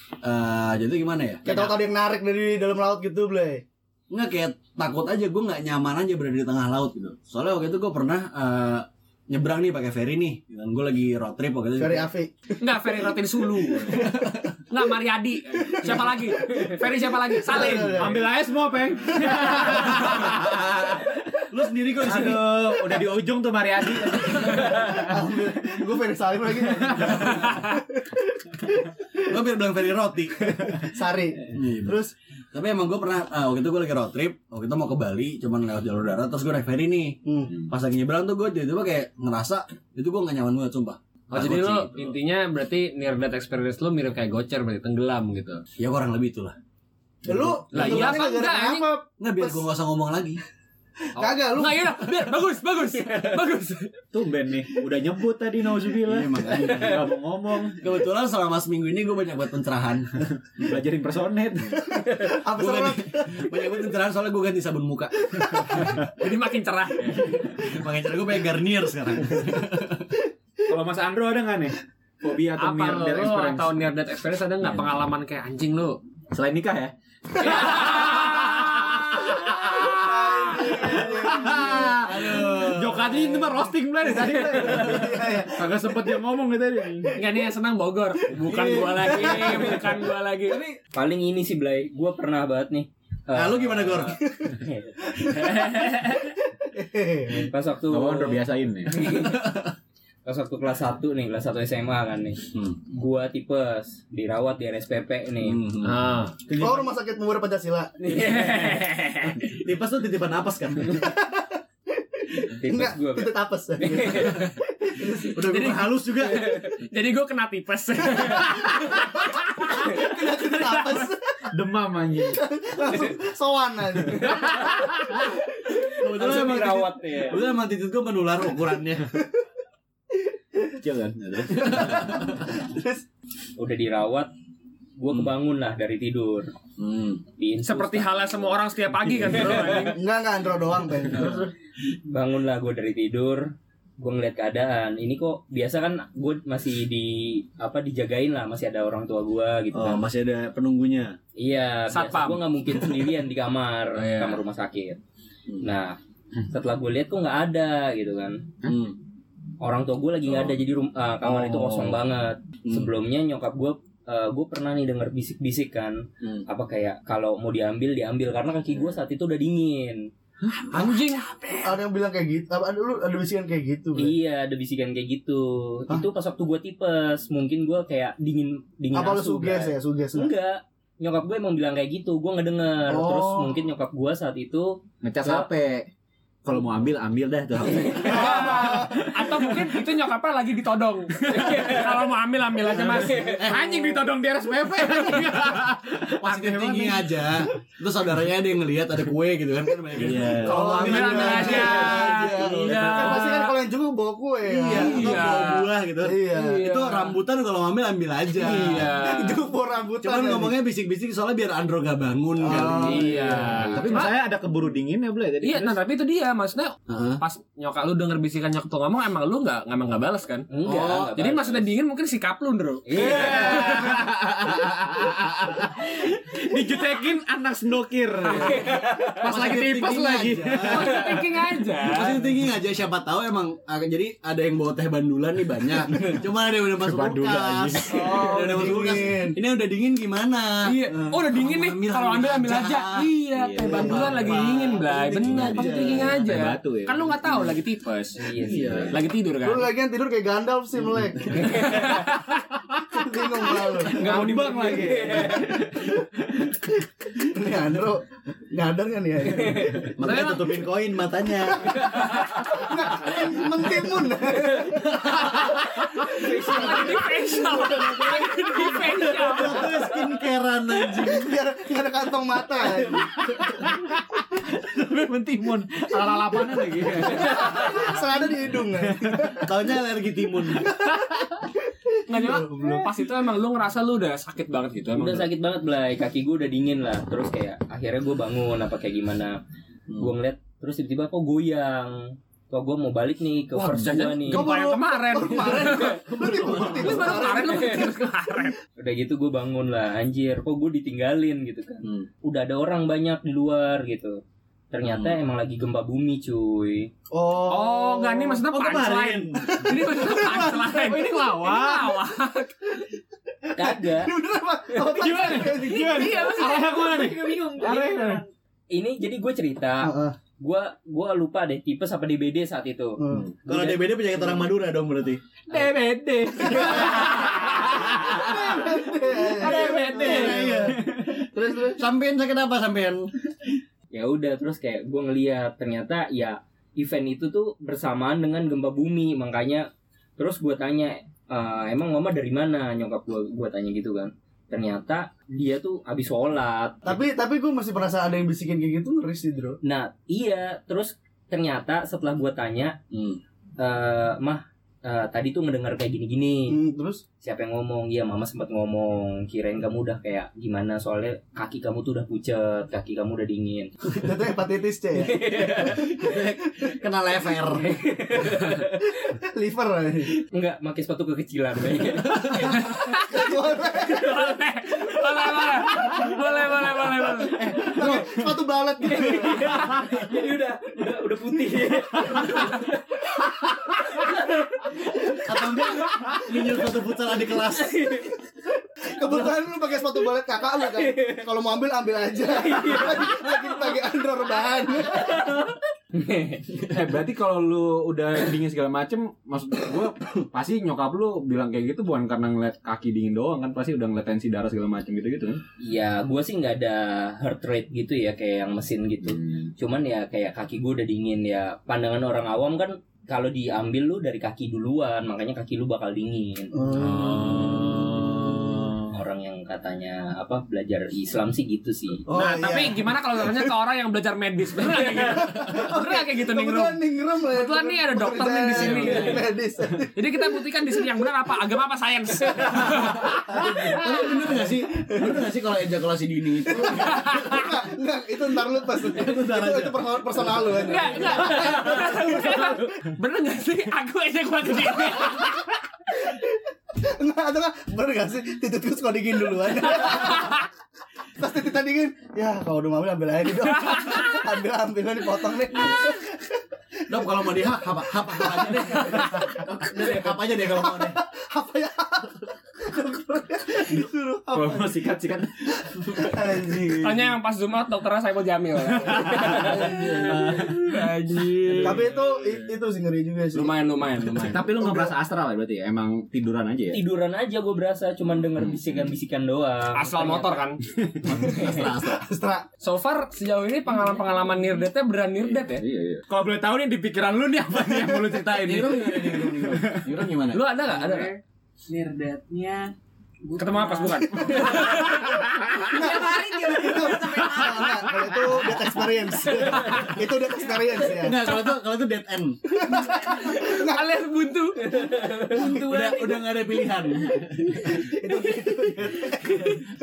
Speaker 4: eh jadi gimana ya?
Speaker 1: Kayak tahu ada yang narik dari dalam laut gitu, Blay.
Speaker 4: Nggak kayak takut aja gue nggak nyaman aja berada di tengah laut gitu. Soalnya waktu itu gue pernah eh, nyebrang nih pakai ferry nih. Dan gue lagi road trip waktu itu.
Speaker 1: Ferry Afi.
Speaker 3: Enggak, Ferry Rotin Sulu. Enggak, Mariadi. Siapa lagi? Ferry siapa lagi? Salim.
Speaker 6: Ambil aja semua, Peng.
Speaker 4: Lu sendiri kok di sini.
Speaker 6: Aduh, udah di ujung tuh Mariadi.
Speaker 1: Gue Ferry Salim lagi.
Speaker 4: Gue biar bilang ferry roti.
Speaker 1: Sari. Terus
Speaker 4: Tapi emang gue pernah eh, waktu itu gue lagi road trip, waktu itu mau ke Bali, cuman lewat jalur darat terus gue naik ferry nih.
Speaker 1: hmm.
Speaker 4: Pas lagi nyebrang tuh gue tiba-tiba kayak ngerasa itu gue nggak nyaman banget sumpah.
Speaker 3: Oh,
Speaker 4: Takut
Speaker 3: jadi lu
Speaker 4: sih.
Speaker 3: intinya berarti near death experience lu mirip kayak gocer berarti tenggelam gitu.
Speaker 4: ya kurang lebih itulah.
Speaker 1: lu
Speaker 3: Lah,
Speaker 1: tenggelamnya
Speaker 3: iya apa enggak,
Speaker 1: gara-gara
Speaker 3: anjing?
Speaker 1: apa?
Speaker 4: Nggak biar
Speaker 1: Pas-
Speaker 4: gue nggak usah ngomong lagi.
Speaker 1: Kagak lu.
Speaker 3: Enggak, iya, biar bagus, bagus. Bagus.
Speaker 6: Tuh Ben nih, udah nyebut tadi Nauzubillah. Gak mau ngomong,
Speaker 4: Kebetulan selama seminggu ini gue banyak buat pencerahan.
Speaker 6: belajarin personet.
Speaker 1: Apa
Speaker 4: Gue
Speaker 1: salah?
Speaker 4: ganti, banyak gue pencerahan soalnya gue ganti sabun muka.
Speaker 3: Jadi makin cerah.
Speaker 4: Pakai cara gue pakai Garnier sekarang.
Speaker 6: Kalau Mas Andro ada nggak nih? Fobia atau
Speaker 3: Apa
Speaker 6: near
Speaker 3: lu
Speaker 6: death experience? Iya.
Speaker 3: atau near death experience ada nggak pengalaman kayak anjing lu?
Speaker 6: Selain nikah ya?
Speaker 4: Aduh. Iya,
Speaker 6: Jok tadi itu mah roasting bener ya, tadi. Kagak sempet dia ngomong gitu tadi.
Speaker 3: Enggak nih yang senang Bogor. Bukan gua lagi, bukan gua lagi.
Speaker 5: Paling ini sih Blay, gue pernah banget nih. Eh,
Speaker 4: Nah, lu gimana Gor?
Speaker 5: pas waktu
Speaker 6: Ngomong udah biasain nih.
Speaker 5: pas waktu kelas 1 nih, kelas 1 SMA kan nih.
Speaker 4: Hmm.
Speaker 5: Gua tipes, dirawat di RSPP nih.
Speaker 3: Ah.
Speaker 1: Oh, rumah sakit muda Pancasila.
Speaker 4: Tipes tuh titipan apes kan?
Speaker 5: tipes
Speaker 1: Enggak,
Speaker 5: gua.
Speaker 1: itu
Speaker 5: Bray.
Speaker 1: tapes.
Speaker 4: Udah gue halus juga.
Speaker 3: Jadi gua kena tipes.
Speaker 1: Tapes.
Speaker 6: Demam anjing.
Speaker 1: Langsung sowan aja.
Speaker 4: Kebetulan
Speaker 5: Langsung
Speaker 4: emang
Speaker 5: dirawat
Speaker 4: titit-
Speaker 5: ya.
Speaker 4: Kebetulan emang titit gue menular ukurannya.
Speaker 6: Kecil kan?
Speaker 5: Udah dirawat, gua kebangun lah dari tidur.
Speaker 4: Hmm.
Speaker 5: Diinfus,
Speaker 3: Seperti
Speaker 5: kan.
Speaker 3: halnya semua orang setiap pagi kan, Bro. anjing.
Speaker 1: Enggak, enggak Andro doang, Ben. Terus terus.
Speaker 5: bangun lah gue dari tidur gue ngeliat keadaan ini kok biasa kan gue masih di apa dijagain lah masih ada orang tua gue gitu
Speaker 4: Oh,
Speaker 5: kan
Speaker 4: masih ada penunggunya.
Speaker 5: iya
Speaker 3: Satpam.
Speaker 5: biasa gue nggak mungkin sendirian di kamar
Speaker 3: Oh, iya.
Speaker 5: kamar rumah sakit
Speaker 4: Hmm.
Speaker 5: nah setelah gue lihat kok nggak ada gitu kan
Speaker 4: Hmm.
Speaker 5: orang tua gue lagi nggak ada jadi rum- ah, kamar itu kosong banget
Speaker 4: Hmm.
Speaker 5: sebelumnya nyokap gue gue pernah nih denger bisik-bisik kan
Speaker 4: Hmm.
Speaker 5: apa kayak kalau mau diambil diambil karena kaki gue saat itu udah dingin
Speaker 3: Anjing.
Speaker 1: Ada yang bilang kayak gitu. Apa ada lu ada bisikan kayak gitu, Ben?
Speaker 5: Iya, ada bisikan kayak gitu.
Speaker 1: Hah?
Speaker 5: Itu pas waktu gue tipes, mungkin gue kayak dingin
Speaker 3: Iya,
Speaker 5: dingin
Speaker 1: Apa lu
Speaker 5: asu,
Speaker 1: suges
Speaker 5: Bray.
Speaker 1: ya, suges?
Speaker 5: Enggak. Nyokap gue emang bilang kayak gitu, gue ngedenger.
Speaker 1: Oh.
Speaker 5: Terus mungkin nyokap gue saat itu
Speaker 6: Ngecas Iya.
Speaker 5: HP.
Speaker 6: kalau mau ambil ambil dah tuh HP.
Speaker 3: Atau mungkin itu nyokapnya lagi ditodong. Kalau mau ambil ambil aja mas. Anjing ditodong di RSPP.
Speaker 4: Positif
Speaker 3: Aneh
Speaker 4: tinggi aja Terus saudaranya ada yang ngelihat ada kue gitu kan kan banyak
Speaker 6: Iya.
Speaker 4: Kalau
Speaker 3: Kalau ambil ambil aja. Iya.
Speaker 1: Kan pasti kan kalau yang jenguk bawa kue ya.
Speaker 4: Iya, atau
Speaker 3: Iya.
Speaker 4: bawa buah gitu
Speaker 1: Iya.
Speaker 4: Itu rambutan kalau ambil ambil aja
Speaker 3: Iya.
Speaker 1: Jenguk bawa rambutan.
Speaker 4: Cuman
Speaker 1: lagi.
Speaker 4: ngomongnya bisik-bisik soalnya biar Andro gak bangun
Speaker 1: Oh,
Speaker 4: kali.
Speaker 3: Iya.
Speaker 6: tapi
Speaker 3: Cuma-
Speaker 6: misalnya ada keburu dingin ya boleh jadi
Speaker 3: Iya, nah tapi itu dia maksudnya
Speaker 4: Heeh.
Speaker 3: pas nyokap lu denger bisikan nyokap tuh ngomong emang lu nggak emang nggak balas kan?
Speaker 5: Enggak.
Speaker 4: Oh,
Speaker 5: enggak
Speaker 3: Jadi
Speaker 5: bagus.
Speaker 3: maksudnya dingin mungkin sikap lu Ndro.
Speaker 5: Iya.
Speaker 6: dijutekin anak snokir pas lagi tipes lagi
Speaker 3: Maksudnya thinking Oh, aja.
Speaker 4: Masih tinggi Iya, aja siapa tahu emang ah, jadi ada yang bawa teh bandulan nih banyak. Cuma ada yang udah masuk
Speaker 6: Bandula,
Speaker 4: kulkas.
Speaker 1: Oh,
Speaker 4: Ada yang udah masuk kulkas.
Speaker 1: dingin.
Speaker 4: Ini udah dingin gimana?
Speaker 3: Iya.
Speaker 4: Eh,
Speaker 3: Oh udah dingin nih.
Speaker 4: ambil,
Speaker 3: Kalau ambil ambil aja. Iya. Teh bandulan lagi dingin, Blay. Benar. Pas thinking aja.
Speaker 6: Kayak batu ya.
Speaker 3: Kan lu nggak tahu lagi tipes.
Speaker 5: Iya sih.
Speaker 3: Lagi tidur
Speaker 1: Lu
Speaker 3: kan.
Speaker 1: lagian tidur kayak Gandalf sih melek. Bingung lah lu.
Speaker 3: Nggak mau dibang lagi.
Speaker 1: Ini Andro nyadar kan ya?
Speaker 4: Makanya
Speaker 3: Saya-
Speaker 4: tutupin koin matanya.
Speaker 1: Mentimun.
Speaker 3: Lagi di facial. Lagi di facial.
Speaker 4: Itu skincarean anjing.
Speaker 1: Biar biar ada kantong mata.
Speaker 6: tapi mentimun ala lapangan lagi
Speaker 1: Selada di hidung.
Speaker 4: Taunya alergi timun.
Speaker 3: Nggak cuma pas itu emang lu ngerasa lu udah sakit banget gitu emang.
Speaker 5: Udah sakit banget Blay, kaki gue udah dingin lah. Terus kayak akhirnya gue bangun apa kayak gimana. Gue ngeliat terus tiba-tiba kok goyang. Kok gue mau balik nih ke
Speaker 3: Wah,
Speaker 5: first gue
Speaker 3: jangan
Speaker 5: nih.
Speaker 3: gempa yang Oh, kemarin.
Speaker 1: Baru kemarin. Lu tidur
Speaker 3: Lu
Speaker 1: tidur
Speaker 3: baru kemarin lu kemarin.
Speaker 5: Udah gitu gue bangun lah, anjir kok gue ditinggalin gitu kan. Udah ada orang banyak di luar gitu. Ternyata emang lagi gempa bumi cuy.
Speaker 3: Oh, enggak nih maksudnya
Speaker 4: Oh,
Speaker 3: punchline. Ini maksudnya punchline. Ini lawak. Ini lawak.
Speaker 5: Kagak.
Speaker 1: Ini bener apa? Apa
Speaker 6: Gimana? Gimana?
Speaker 3: Iya, maksudnya.
Speaker 6: Arahnya kemana nih?
Speaker 5: bingung.
Speaker 6: Arahnya kemana?
Speaker 5: Ini jadi gue cerita,
Speaker 1: Heeh.
Speaker 5: gue gua lupa deh tipes apa DBD saat itu.
Speaker 1: Heeh.
Speaker 4: Kalau DBD penyakit orang Madura dong berarti.
Speaker 3: DBD. DBD.
Speaker 1: Iya. Terus terus.
Speaker 4: Sampean sakit apa sampean?
Speaker 5: ya udah terus kayak gue ngeliat ternyata ya event itu tuh bersamaan dengan gempa bumi makanya terus gue tanya "Eh, emang mama dari mana nyokap gue gue tanya gitu kan ternyata dia tuh abis sholat
Speaker 1: Tapi tapi gue masih merasa ada yang bisikin kayak gitu ngeri sih, Bro.
Speaker 5: nah iya terus ternyata setelah gue tanya "Eh, mah eh, tadi tuh ngedengar kayak gini-gini
Speaker 1: Hmm, terus
Speaker 5: siapa yang ngomong iya mama sempat ngomong kirain kamu udah kayak gimana soalnya kaki kamu tuh udah pucet kaki kamu udah dingin
Speaker 1: itu hepatitis C ya.
Speaker 4: Kena lever.
Speaker 1: Liver. eh.
Speaker 5: enggak pakai sepatu kekecilan
Speaker 3: Boleh. Boleh, boleh. Boleh, boleh, boleh, boleh.
Speaker 1: Pakai Sepatu balet gitu.
Speaker 5: jadi udah udah udah putih
Speaker 4: Atau enggak Ninjut satu futsal adik kelas.
Speaker 1: Kebetulan lu pakai sepatu balet kakak lu kan. Kalau mau ambil ambil aja.
Speaker 3: Iya.
Speaker 1: Lagi pakai andro rebahan.
Speaker 6: Eh berarti kalau lu udah dingin segala macem Maksud gue Pasti nyokap lu bilang kayak gitu Bukan karena ngeliat kaki dingin doang kan Pasti udah ngeliat tensi darah segala macem gitu-gitu kan
Speaker 5: Ya, gue sih nggak ada heart rate gitu ya kayak yang mesin gitu.
Speaker 6: Hmm.
Speaker 5: Cuman ya kayak kaki gue udah dingin ya. Pandangan orang awam kan kalau diambil lu dari kaki duluan, makanya kaki lu bakal dingin. Orang yang katanya apa belajar Islam sih gitu sih.
Speaker 1: Oh,
Speaker 3: nah,
Speaker 1: iya.
Speaker 3: tapi gimana kalau tanya ke orang yang belajar medis? Bener nggak kayak gitu? Bener nggak kayak gitu, Ningrum?
Speaker 1: Kebetulan ningrum ya.
Speaker 3: Kebetulan nih ada dokter nih di sini.
Speaker 1: Pekerjaan Medis.
Speaker 3: Jadi kita buktikan di sini yang benar apa agama apa sains.
Speaker 4: Tapi bener gak sih? Bener gak sih kalau ejakulasi dini itu?
Speaker 1: Enggak, enggak, itu ntar lu pas itu,
Speaker 4: ntar aja.
Speaker 1: itu per- personal lu kan? aja.
Speaker 3: Enggak, enggak. Bener nggak sih? Aku aja gua kesini.
Speaker 1: Enggak, atau enggak, bener gak sih? Titikku suka dingin duluan. Pas titiknya dingin, ya kalau udah mau ambil ambil aja dong. Ambil ambil nih potong nih.
Speaker 4: Dok kalau mau dihak apa apa apa aja deh. Dok, udah deh, apa aja deh kalau mau deh.
Speaker 1: Apa ya? Disuruh apa?
Speaker 3: Oh.
Speaker 6: Kalau mau Oh, sikat sikat.
Speaker 1: Anjing.
Speaker 3: Tanya yang pas Jumat dokternya Saiful Jamil.
Speaker 4: Iya.
Speaker 3: Anjir.
Speaker 1: Tapi itu i- itu sih ngeri juga sih.
Speaker 3: lumayan lumayan lumayan.
Speaker 6: Tapi lu nggak berasa astral ya berarti ya? Emang tiduran aja ya?
Speaker 5: Tiduran aja gue berasa cuman denger bisikan-bisikan doang.
Speaker 3: Hmm. Asal motor kan.
Speaker 1: Astra.
Speaker 3: So far sejauh ini pengalaman-pengalaman near death-nya beran near death ya.
Speaker 6: Iya, iya. Kalau boleh tahu nih di pikiran lu nih apa nih yang mau lu ceritain nih?
Speaker 4: Niro gimana Niro Niro? Niro gimana?
Speaker 3: Lu ada nggak? Ada. nggak?
Speaker 7: Nirdatnya
Speaker 3: Ketemu apa bukan?
Speaker 7: Tiap hari dia
Speaker 1: Itu
Speaker 3: gitu,
Speaker 1: enggak, kalau itu death experience. itu death experience ya.
Speaker 4: Enggak, kalau tuh kalau tuh dead end.
Speaker 3: Alias buntu.
Speaker 4: Udah udah enggak ada pilihan.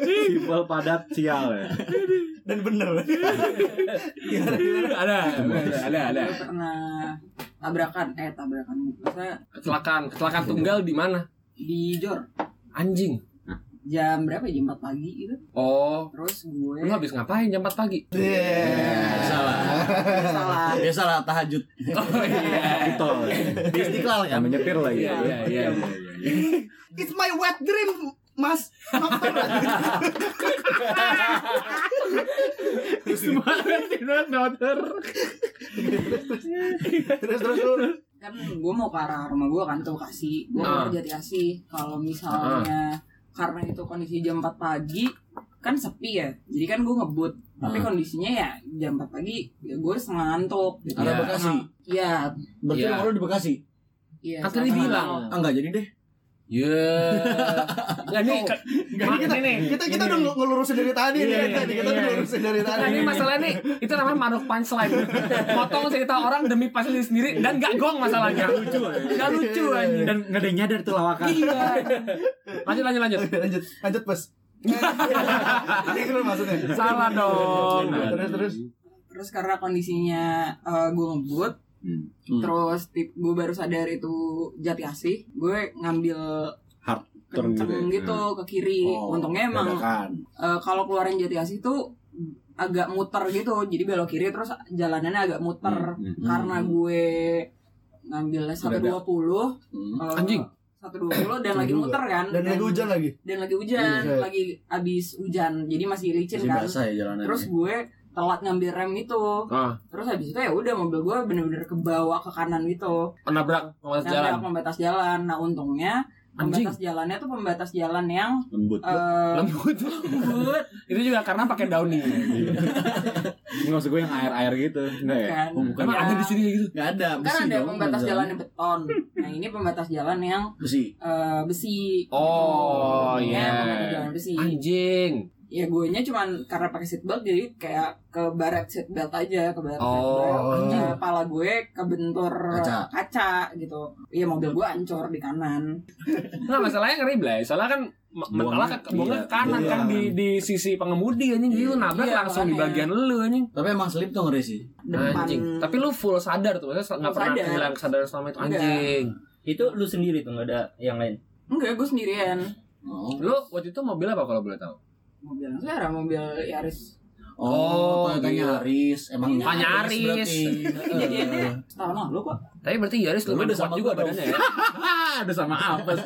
Speaker 6: Simpel padat sial ya.
Speaker 1: Dan bener.
Speaker 3: Ada. Ada ada. ada.
Speaker 7: Gue pernah tabrakan eh tabrakan saya
Speaker 3: Kecelakaan kecelakaan tunggal di mana?
Speaker 7: di Jor
Speaker 3: Anjing.
Speaker 7: jam berapa ya jam 4 pagi gitu
Speaker 3: Oh.
Speaker 7: terus
Speaker 3: Lu
Speaker 7: gue
Speaker 3: habis ngapain jam 4 pagi?
Speaker 4: Salah.
Speaker 7: kan salah
Speaker 4: Biasalah tahajud.
Speaker 3: Oh iya.
Speaker 6: Itu.
Speaker 4: Di Istiqlal kan.
Speaker 6: ya? Yang menyetir gitu. lagi.
Speaker 3: Iya iya iya.
Speaker 1: It's my wet dream, Mas. terus terus lu.
Speaker 7: kan gue mau ke arah rumah gue kan tuh kasih gue
Speaker 3: Ah.
Speaker 7: mau jati kasih kalau
Speaker 6: Ah.
Speaker 7: misalnya karena itu kondisi jam 4 pagi kan sepi ya jadi kan gue ngebut
Speaker 6: Ah.
Speaker 7: tapi kondisinya ya jam 4 pagi ya gue setengah ngantuk gitu
Speaker 4: Arah
Speaker 6: Iya.
Speaker 7: ya.
Speaker 4: Bekasi.
Speaker 7: ya
Speaker 4: Berarti
Speaker 3: Iya.
Speaker 4: rumah lu di Bekasi?
Speaker 7: iya
Speaker 3: Kan tadi
Speaker 7: setengah
Speaker 3: bilang.
Speaker 7: ngantuk.
Speaker 4: Ah, enggak jadi deh.
Speaker 3: Ya. Ya nih ke- Ma-
Speaker 1: kita,
Speaker 3: ini nih.
Speaker 1: kita kita udah ngel- ngelurusin dari tadi nih,
Speaker 3: Iya,
Speaker 1: tadi kita
Speaker 3: iya.
Speaker 1: udah ngelurusin dari tadi.
Speaker 3: Nah, ini masalah nih, itu namanya maruk punchline. Motong cerita orang demi punchline sendiri dan gak gong masalahnya.
Speaker 6: Lucu ya.
Speaker 3: Gak lucu anjing.
Speaker 6: Dan nggak ada yang nyadar tuh lawakan.
Speaker 3: Iya. Lanjut lanjut lanjut.
Speaker 1: lanjut lanjut pas ini kan maksudnya
Speaker 3: Salah dong.
Speaker 1: Nah, terus terus
Speaker 7: terus karena kondisinya eh, gue ngebut
Speaker 6: Hmm.
Speaker 7: terus tip gue baru sadar itu jati asih gue ngambil
Speaker 6: Hard turn
Speaker 7: kenceng
Speaker 6: gitu ya. Oh,
Speaker 7: gitu, ke kiri untungnya emang
Speaker 4: dadakan.
Speaker 7: eh, kalau keluaran jati asih tuh agak muter gitu jadi belok kiri terus jalanannya agak muter
Speaker 6: Hmm,
Speaker 7: karena gue ngambilnya satu dua puluh eh,
Speaker 4: Hmm.
Speaker 3: Anjing.
Speaker 7: satu dua puluh dan lagi muter kan
Speaker 1: dan lagi hujan lagi
Speaker 7: dan lagi hujan
Speaker 1: Iya.
Speaker 7: lagi abis hujan jadi masih licin
Speaker 4: Masih
Speaker 7: kan
Speaker 4: basah ya jalanannya.
Speaker 7: terus gue telat ngambil rem itu
Speaker 3: Ah.
Speaker 7: terus habis itu ya udah mobil gue bener-bener ke bawah ke kanan gitu
Speaker 3: Nabrak pembatas
Speaker 7: Nah,
Speaker 3: jalan.
Speaker 7: ada pembatas jalan nah untungnya
Speaker 3: Anjing.
Speaker 7: pembatas jalannya tuh pembatas jalan yang
Speaker 6: hmm. Lembut.
Speaker 7: eh,
Speaker 3: Lembut.
Speaker 7: lembut
Speaker 3: Itu juga karena pakai downy.
Speaker 6: Nggak maksud gue yang air-air gitu. Enggak ya?
Speaker 7: kan
Speaker 3: Emang ada di sini gitu.
Speaker 4: enggak ada.
Speaker 7: kan
Speaker 4: Ya, besi
Speaker 7: ada
Speaker 4: dong,
Speaker 7: pembatas
Speaker 4: jalan.
Speaker 7: jalan yang beton nah ini pembatas jalan yang
Speaker 4: Besi.
Speaker 7: eh, besi
Speaker 3: Oh,
Speaker 7: Untungnya
Speaker 3: iya.
Speaker 7: pembatas jalan besi
Speaker 3: Anjing.
Speaker 7: ya gue nya cuman karena pakai seatbelt jadi kayak ke barat seatbelt aja ke barat
Speaker 3: Oh,
Speaker 7: seatbelt.
Speaker 1: anjing.
Speaker 7: Nah, kepala gue kebentur
Speaker 4: Kaca.
Speaker 7: kaca gitu iya mobil gue ancur di kanan
Speaker 3: Nah, masalahnya ngeri Blay. Soalnya kan ma- malah ke buangnya ke kanan
Speaker 4: iya.
Speaker 3: kan di di sisi pengemudi anjing. Jadi lu nabrak
Speaker 7: Iya,
Speaker 3: langsung di
Speaker 7: makanya.
Speaker 3: bagian lu anjing.
Speaker 4: Tapi emang slip tuh ngeri sih.
Speaker 7: depan
Speaker 3: Anjing. Tapi lu full sadar tuh. Maksudnya enggak
Speaker 7: Full
Speaker 3: pernah
Speaker 7: sadar.
Speaker 3: kehilangan kesadaran selama itu
Speaker 7: Enggak.
Speaker 3: anjing.
Speaker 5: Itu lu sendiri tuh nggak ada yang lain.
Speaker 7: enggak gue sendirian
Speaker 4: Oh.
Speaker 3: Lu waktu itu mobil apa kalau boleh tahu?
Speaker 7: mobil saudara mobil Yaris
Speaker 4: Oh, Toyotanya
Speaker 3: iya.
Speaker 4: Haris. Emang
Speaker 3: Tanya Haris.
Speaker 4: berarti.
Speaker 7: kejadiannya setahun lalu kok
Speaker 3: Tapi berarti Yaris
Speaker 4: Lu
Speaker 3: lumayan
Speaker 4: udah
Speaker 3: kuat
Speaker 4: sama
Speaker 3: juga
Speaker 4: gua dong.
Speaker 3: badannya ya.
Speaker 6: Ada sama apes.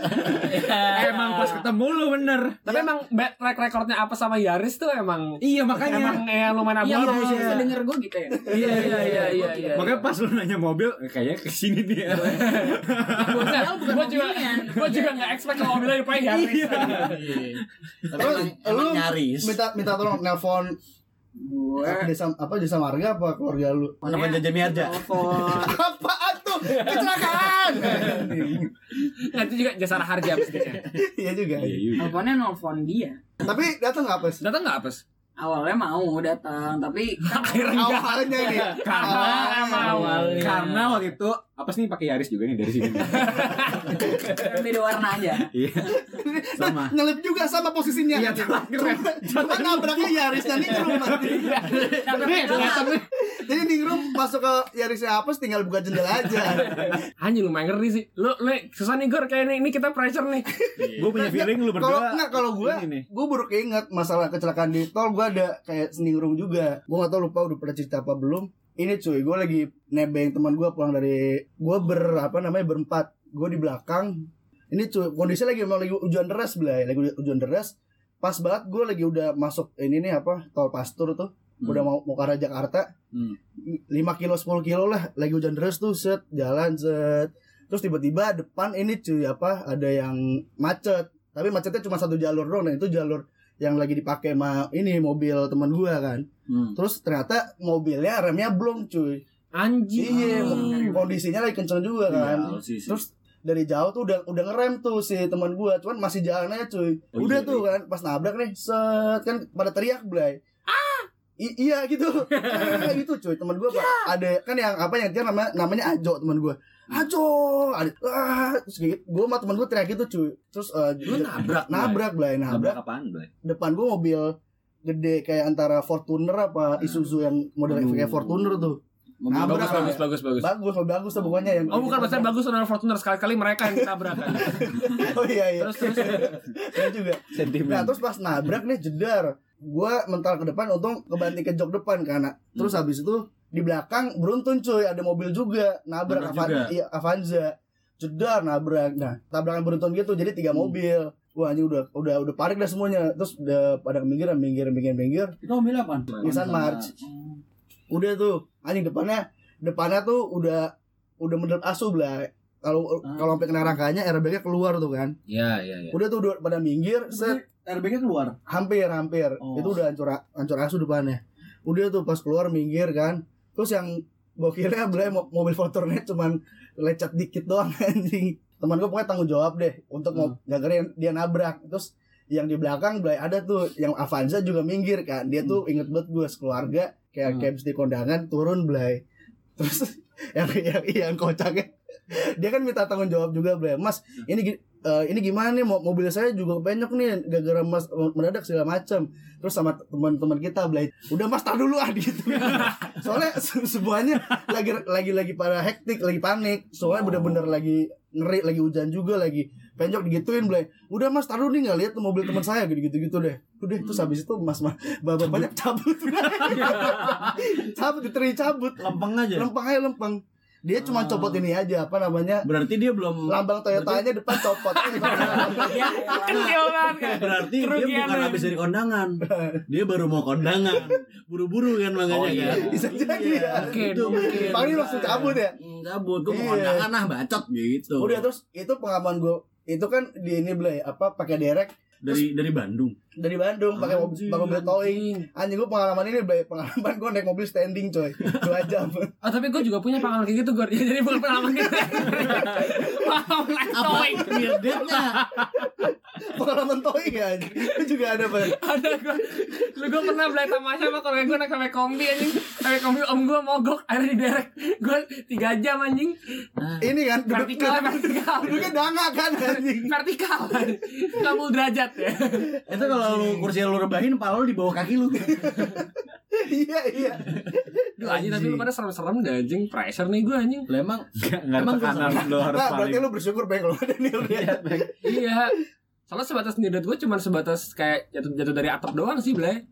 Speaker 3: Iya.
Speaker 6: Emang pas ketemu lu bener.
Speaker 3: Tapi emang back track recordnya apa sama Yaris tuh emang
Speaker 6: Iya makanya.
Speaker 3: emang ya lumayan
Speaker 7: Iya,
Speaker 3: abu-abu
Speaker 7: kalau
Speaker 3: sih.
Speaker 7: bisa denger gue gitu ya.
Speaker 3: Iya iya iya iya. iya.
Speaker 6: Makanya pas lu nanya mobil, eh, kayaknya kesini dia.
Speaker 3: Maksudnya,
Speaker 7: Padahal bukan
Speaker 3: gua juga
Speaker 7: mobilnya.
Speaker 3: gua juga nggak expect kalau mobilnya dipakai Yaris.
Speaker 4: Tapi emang, emang
Speaker 1: Lu-
Speaker 4: nyaris.
Speaker 1: minta minta tolong nelpon
Speaker 7: Gue
Speaker 1: desa apa desa marga apa keluarga lu
Speaker 4: Mana kan jajan Miarja?
Speaker 7: telepon.
Speaker 1: apaan tuh kecelakaan
Speaker 3: Nanti Nah, juga jasa harga mestinya.
Speaker 1: iya juga
Speaker 7: Teleponnya nelfon dia.
Speaker 1: tapi datang nggak pas
Speaker 3: Datang nggak apes?
Speaker 7: Awalnya mau datang, tapi kan
Speaker 3: Akhirnya enggak.
Speaker 1: awalnya ini
Speaker 6: Karena
Speaker 1: Awalnya.
Speaker 4: Iya.
Speaker 5: Awalnya.
Speaker 6: Karena waktu itu apes nih pakai Yaris juga nih dari sini.
Speaker 7: beda warna aja.
Speaker 6: Iya. Sama.
Speaker 1: nyelip juga sama posisinya
Speaker 6: Iya, cuma keren.
Speaker 1: cuma nabraknya Yarisnya ningrum jadi ningrum masuk ke Yarisnya apa tinggal buka jendela aja
Speaker 3: Anjing lumayan ngeri sih. Lu lu susah nih Gor kayak ini, ini kita pressure nih.
Speaker 4: Iya.
Speaker 6: Gue punya feeling lu
Speaker 1: kalau
Speaker 6: berdua.
Speaker 1: enggak kalau gue
Speaker 6: ini nih.
Speaker 1: gue baru keinget masalah kecelakaan di tol gue ada kayak seningrum juga gue nggak tahu lupa udah pernah cerita apa belum ini cuy gue lagi nebeng teman gue pulang dari gue ber apa namanya berempat gue di belakang ini cu- kondisi lagi memang lagi hujan deras belai lagi hujan deras pas banget gue lagi udah masuk ini nih apa tol pastur tuh
Speaker 6: Hmm.
Speaker 1: udah mau mau ke arah Jakarta
Speaker 4: Hmm.
Speaker 1: 5 kilo 10 kilo lah lagi hujan deras tuh set jalan set terus tiba-tiba depan ini cuy apa ada yang macet tapi macetnya cuma satu jalur doang dan itu jalur yang lagi dipakai ma ini mobil teman gua kan
Speaker 4: Hmm.
Speaker 1: terus ternyata mobilnya remnya belum cuy
Speaker 3: Anjing.
Speaker 1: iya kondisinya lagi kenceng juga
Speaker 4: Iya.
Speaker 1: kan
Speaker 4: Sial sih, sih.
Speaker 1: Terus dari jauh tuh udah udah ngerem tuh si teman gua cuman masih jalan aja cuy
Speaker 4: Oh,
Speaker 1: udah
Speaker 4: iya,
Speaker 1: tuh kan pas nabrak nih set kan pada teriak blay
Speaker 4: Ah!
Speaker 1: I- iya gitu Ah, gitu cuy teman gua
Speaker 4: Iya.
Speaker 1: Pak. ada kan yang apa yang dia nama namanya Ajo teman gua
Speaker 4: Hmm.
Speaker 1: Ajo ada ah terus gitu gua sama teman gua teriak gitu cuy terus eh,
Speaker 4: lu
Speaker 1: dia-
Speaker 4: nabrak
Speaker 1: nabrak blay nabrak
Speaker 6: Nabrak apaan, Blay?
Speaker 1: depan gua mobil gede kayak antara Fortuner apa Isuzu yang model
Speaker 4: Aduh.
Speaker 1: kayak Fortuner tuh
Speaker 4: Mobil
Speaker 1: Nabrak.
Speaker 3: Ah. Bagus, bagus, bagus, bagus.
Speaker 1: bagus bagus tuh pokoknya yang
Speaker 3: Oh bukan maksudnya bagus orang Fortuner sekali-kali mereka yang ditabrak kan.
Speaker 1: oh iya iya
Speaker 3: Terus Hmm. terus
Speaker 1: Saya juga
Speaker 6: Sentimen.
Speaker 1: Nah terus pas nabrak nih jedar Gua mental ke depan untung kebanting ke jok depan karena Terus
Speaker 3: Hmm.
Speaker 1: habis itu di belakang beruntun cuy ada mobil juga Nabrak
Speaker 4: Nabrak
Speaker 1: Avan-
Speaker 4: juga.
Speaker 1: iya, Avanza Jedar nabrak Nah tabrakan beruntun gitu jadi tiga
Speaker 3: Hmm.
Speaker 1: mobil Wah ini udah udah udah parik dah semuanya Terus udah pada minggir minggir minggir minggir
Speaker 4: itu mobil apa
Speaker 1: Nissan March
Speaker 3: Hmm.
Speaker 1: Udah tuh anjing depannya Depannya tuh udah udah menurut asuh lah kalau kalau sampai kena rangkanya airbagnya keluar tuh kan
Speaker 3: Ah. Iya, iya, iya.
Speaker 1: udah tuh udah pada minggir set
Speaker 4: airbagnya keluar
Speaker 1: hampir hampir
Speaker 4: Oh.
Speaker 1: itu udah hancur hancur asu depannya udah tuh pas keluar minggir kan terus yang bokirnya beli mo- mobil motornya cuman lecet dikit doang anjing teman gue pokoknya tanggung jawab deh untuk
Speaker 4: Hmm.
Speaker 1: mau gagalin dia nabrak terus yang di belakang beli ada tuh yang Avanza juga minggir kan dia tuh inget banget gue sekeluarga kayak
Speaker 4: Hmm.
Speaker 1: kayak habis di kondangan turun belai terus yang yang yang kocaknya dia kan minta tanggung jawab juga belai mas ini gi- eh, ini gimana nih mo- mobil saya juga penyok nih gara-gara mas mendadak segala macam terus sama teman-teman kita belai udah mas tar dulu ah gitu soalnya se- semuanya lagi lagi lagi pada hektik lagi panik soalnya bener-bener lagi ngeri lagi hujan juga lagi penyok digituin belai udah mas tar dulu nih nggak lihat tuh mobil teman saya gitu gitu deh udah terus habis itu mas mas bapak banyak cabut cabut diteri cabut
Speaker 4: lempeng aja
Speaker 1: lempeng aja lempeng dia cuma copot ini aja apa namanya
Speaker 4: berarti dia belum
Speaker 1: lambang Toyotanya depan copot
Speaker 3: Kenyolan kan.
Speaker 4: berarti dia
Speaker 3: Kerugian
Speaker 4: bukan
Speaker 3: ya.
Speaker 4: habis dari kondangan dia baru mau kondangan buru-buru kan makanya
Speaker 6: Oh, iya.
Speaker 4: kan
Speaker 1: bisa jadi ya
Speaker 3: Mungkin,
Speaker 4: Itu
Speaker 3: mungkin.
Speaker 1: paling langsung cabut ya
Speaker 4: Mm, cabut gue mau
Speaker 1: Iya.
Speaker 4: kondangan ah bacot gitu
Speaker 1: udah terus itu pengalaman gue itu kan di ini belai apa pakai derek
Speaker 4: dari dari Bandung
Speaker 1: dari Bandung pakai mobil,
Speaker 4: Anjing,
Speaker 1: pakai mobil towing anjing gue pengalaman ini belai pengalaman gue naik mobil standing coy dua jam
Speaker 3: Oh tapi gue juga punya pengalaman kayak gitu gue. Ya, jadi bukan pengalaman gitu. Pengalaman naik towing.
Speaker 4: weirdnya
Speaker 1: pengalaman towing ya anjing. Itu juga ada Bang.
Speaker 3: Ada gue. Dulu gue pernah beli tamasya sama kalau gue naik sampai kombi anjing. Sampai kombi om gue mogok akhirnya di derek. Gue tiga jam anjing.
Speaker 1: ini kan duduk
Speaker 3: Vertikal, vertikal.
Speaker 1: duduknya danga kan anjing
Speaker 3: Vertikal. 60 derajat ya.
Speaker 4: itu Eh, kalau lu kursi lu rebahin pala lu di bawah kaki lu
Speaker 1: iya iya
Speaker 3: Duh anjing tapi lu pada serem-serem dah anjing. Pressure nih gue anjing.
Speaker 4: Lah, emang
Speaker 6: Enggak
Speaker 4: Emang
Speaker 6: tekanan lo harus
Speaker 1: Nah, berarti
Speaker 6: paling.
Speaker 1: lu bersyukur pengen keluar Daniel ya.
Speaker 3: Iya. Soalnya sebatas nirdat gue cuman sebatas kayak jatuh-jatuh dari atap doang sih, Blay.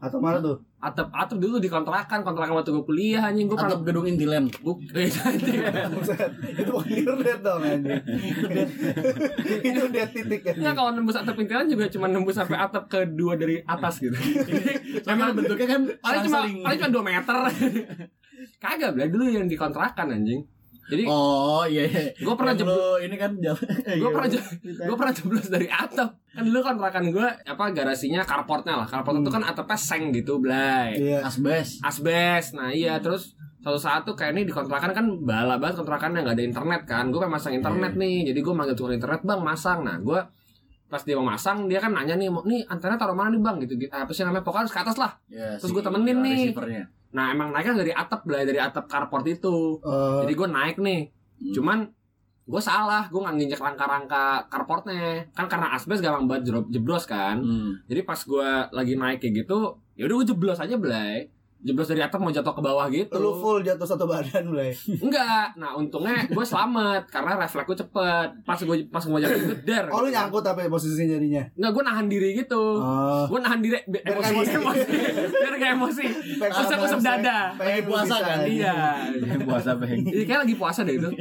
Speaker 1: Atau mana tuh?
Speaker 3: Atap atap dulu di kontrakan, kontrakan waktu gue kuliah anjing gue pernah
Speaker 4: atap gedung intilen
Speaker 3: buk.
Speaker 4: ya
Speaker 3: Eh,
Speaker 4: kan?
Speaker 1: Buset, itu bukan internet dong anjing. itu dia titik
Speaker 3: Enggak
Speaker 1: anjing.
Speaker 3: kalau nembus atap pintaran juga cuma nembus sampai atap kedua dari atas gitu.
Speaker 4: emang
Speaker 3: Emang
Speaker 4: bentuknya kan
Speaker 3: paling cuma
Speaker 4: saling-saling.
Speaker 3: paling cuma 2 meter. Kagak, Blay, dulu yang di kontrakan anjing. Jadi
Speaker 4: oh iya iya
Speaker 3: gue pernah
Speaker 4: Yang
Speaker 3: jebol
Speaker 4: lu ini kan jalan
Speaker 3: gue pernah gue pernah jeblos dari atap kan dulu kontrakan gue apa garasinya carportnya lah carport
Speaker 4: Hmm.
Speaker 3: itu kan atapnya seng gitu blay
Speaker 1: Iya.
Speaker 4: asbes
Speaker 3: asbes nah iya terus satu saat tuh kayak ini di kontrakan kan bala banget kontrakannya nggak ada internet kan gue pengen masang internet nih jadi gue manggil tukang internet bang masang nah gue pas dia mau masang dia kan nanya nih mau nih antena taruh mana nih bang gitu, gitu apa sih namanya pokoknya harus ke atas lah
Speaker 4: ya,
Speaker 3: Terus
Speaker 4: si
Speaker 3: gua temenin nih.
Speaker 4: receivernya.
Speaker 3: nah emang naiknya dari atap blay dari atap carport itu
Speaker 1: Eh,
Speaker 3: jadi gue naik nih cuman gue salah gue nggak nginjek rangka-rangka carportnya kan karena asbes gampang banget jerob- jeblos kan
Speaker 4: Hmm.
Speaker 3: jadi pas gue lagi naik kayak gitu ya udah gue jeblos aja belai jeblos dari atap mau jatuh ke bawah gitu
Speaker 1: eh, lu full jatuh satu badan mulai.
Speaker 3: enggak nah untungnya gue selamat karena refleks gue cepet pas gue pas gue mau jatuh itu der
Speaker 1: Oh lu nyangkut apa ya posisinya jadinya?
Speaker 3: nggak gue nahan diri gitu
Speaker 1: Oh,
Speaker 3: gue nahan diri bi-
Speaker 1: Biar
Speaker 3: emosi
Speaker 1: kayak
Speaker 3: emosi
Speaker 1: gitu.
Speaker 3: emosi biar gak emosi usap usap dada
Speaker 1: Pengen
Speaker 4: puasa kan?
Speaker 3: iya
Speaker 6: Yang puasa pengen.
Speaker 3: Iya, kayak lagi puasa deh itu.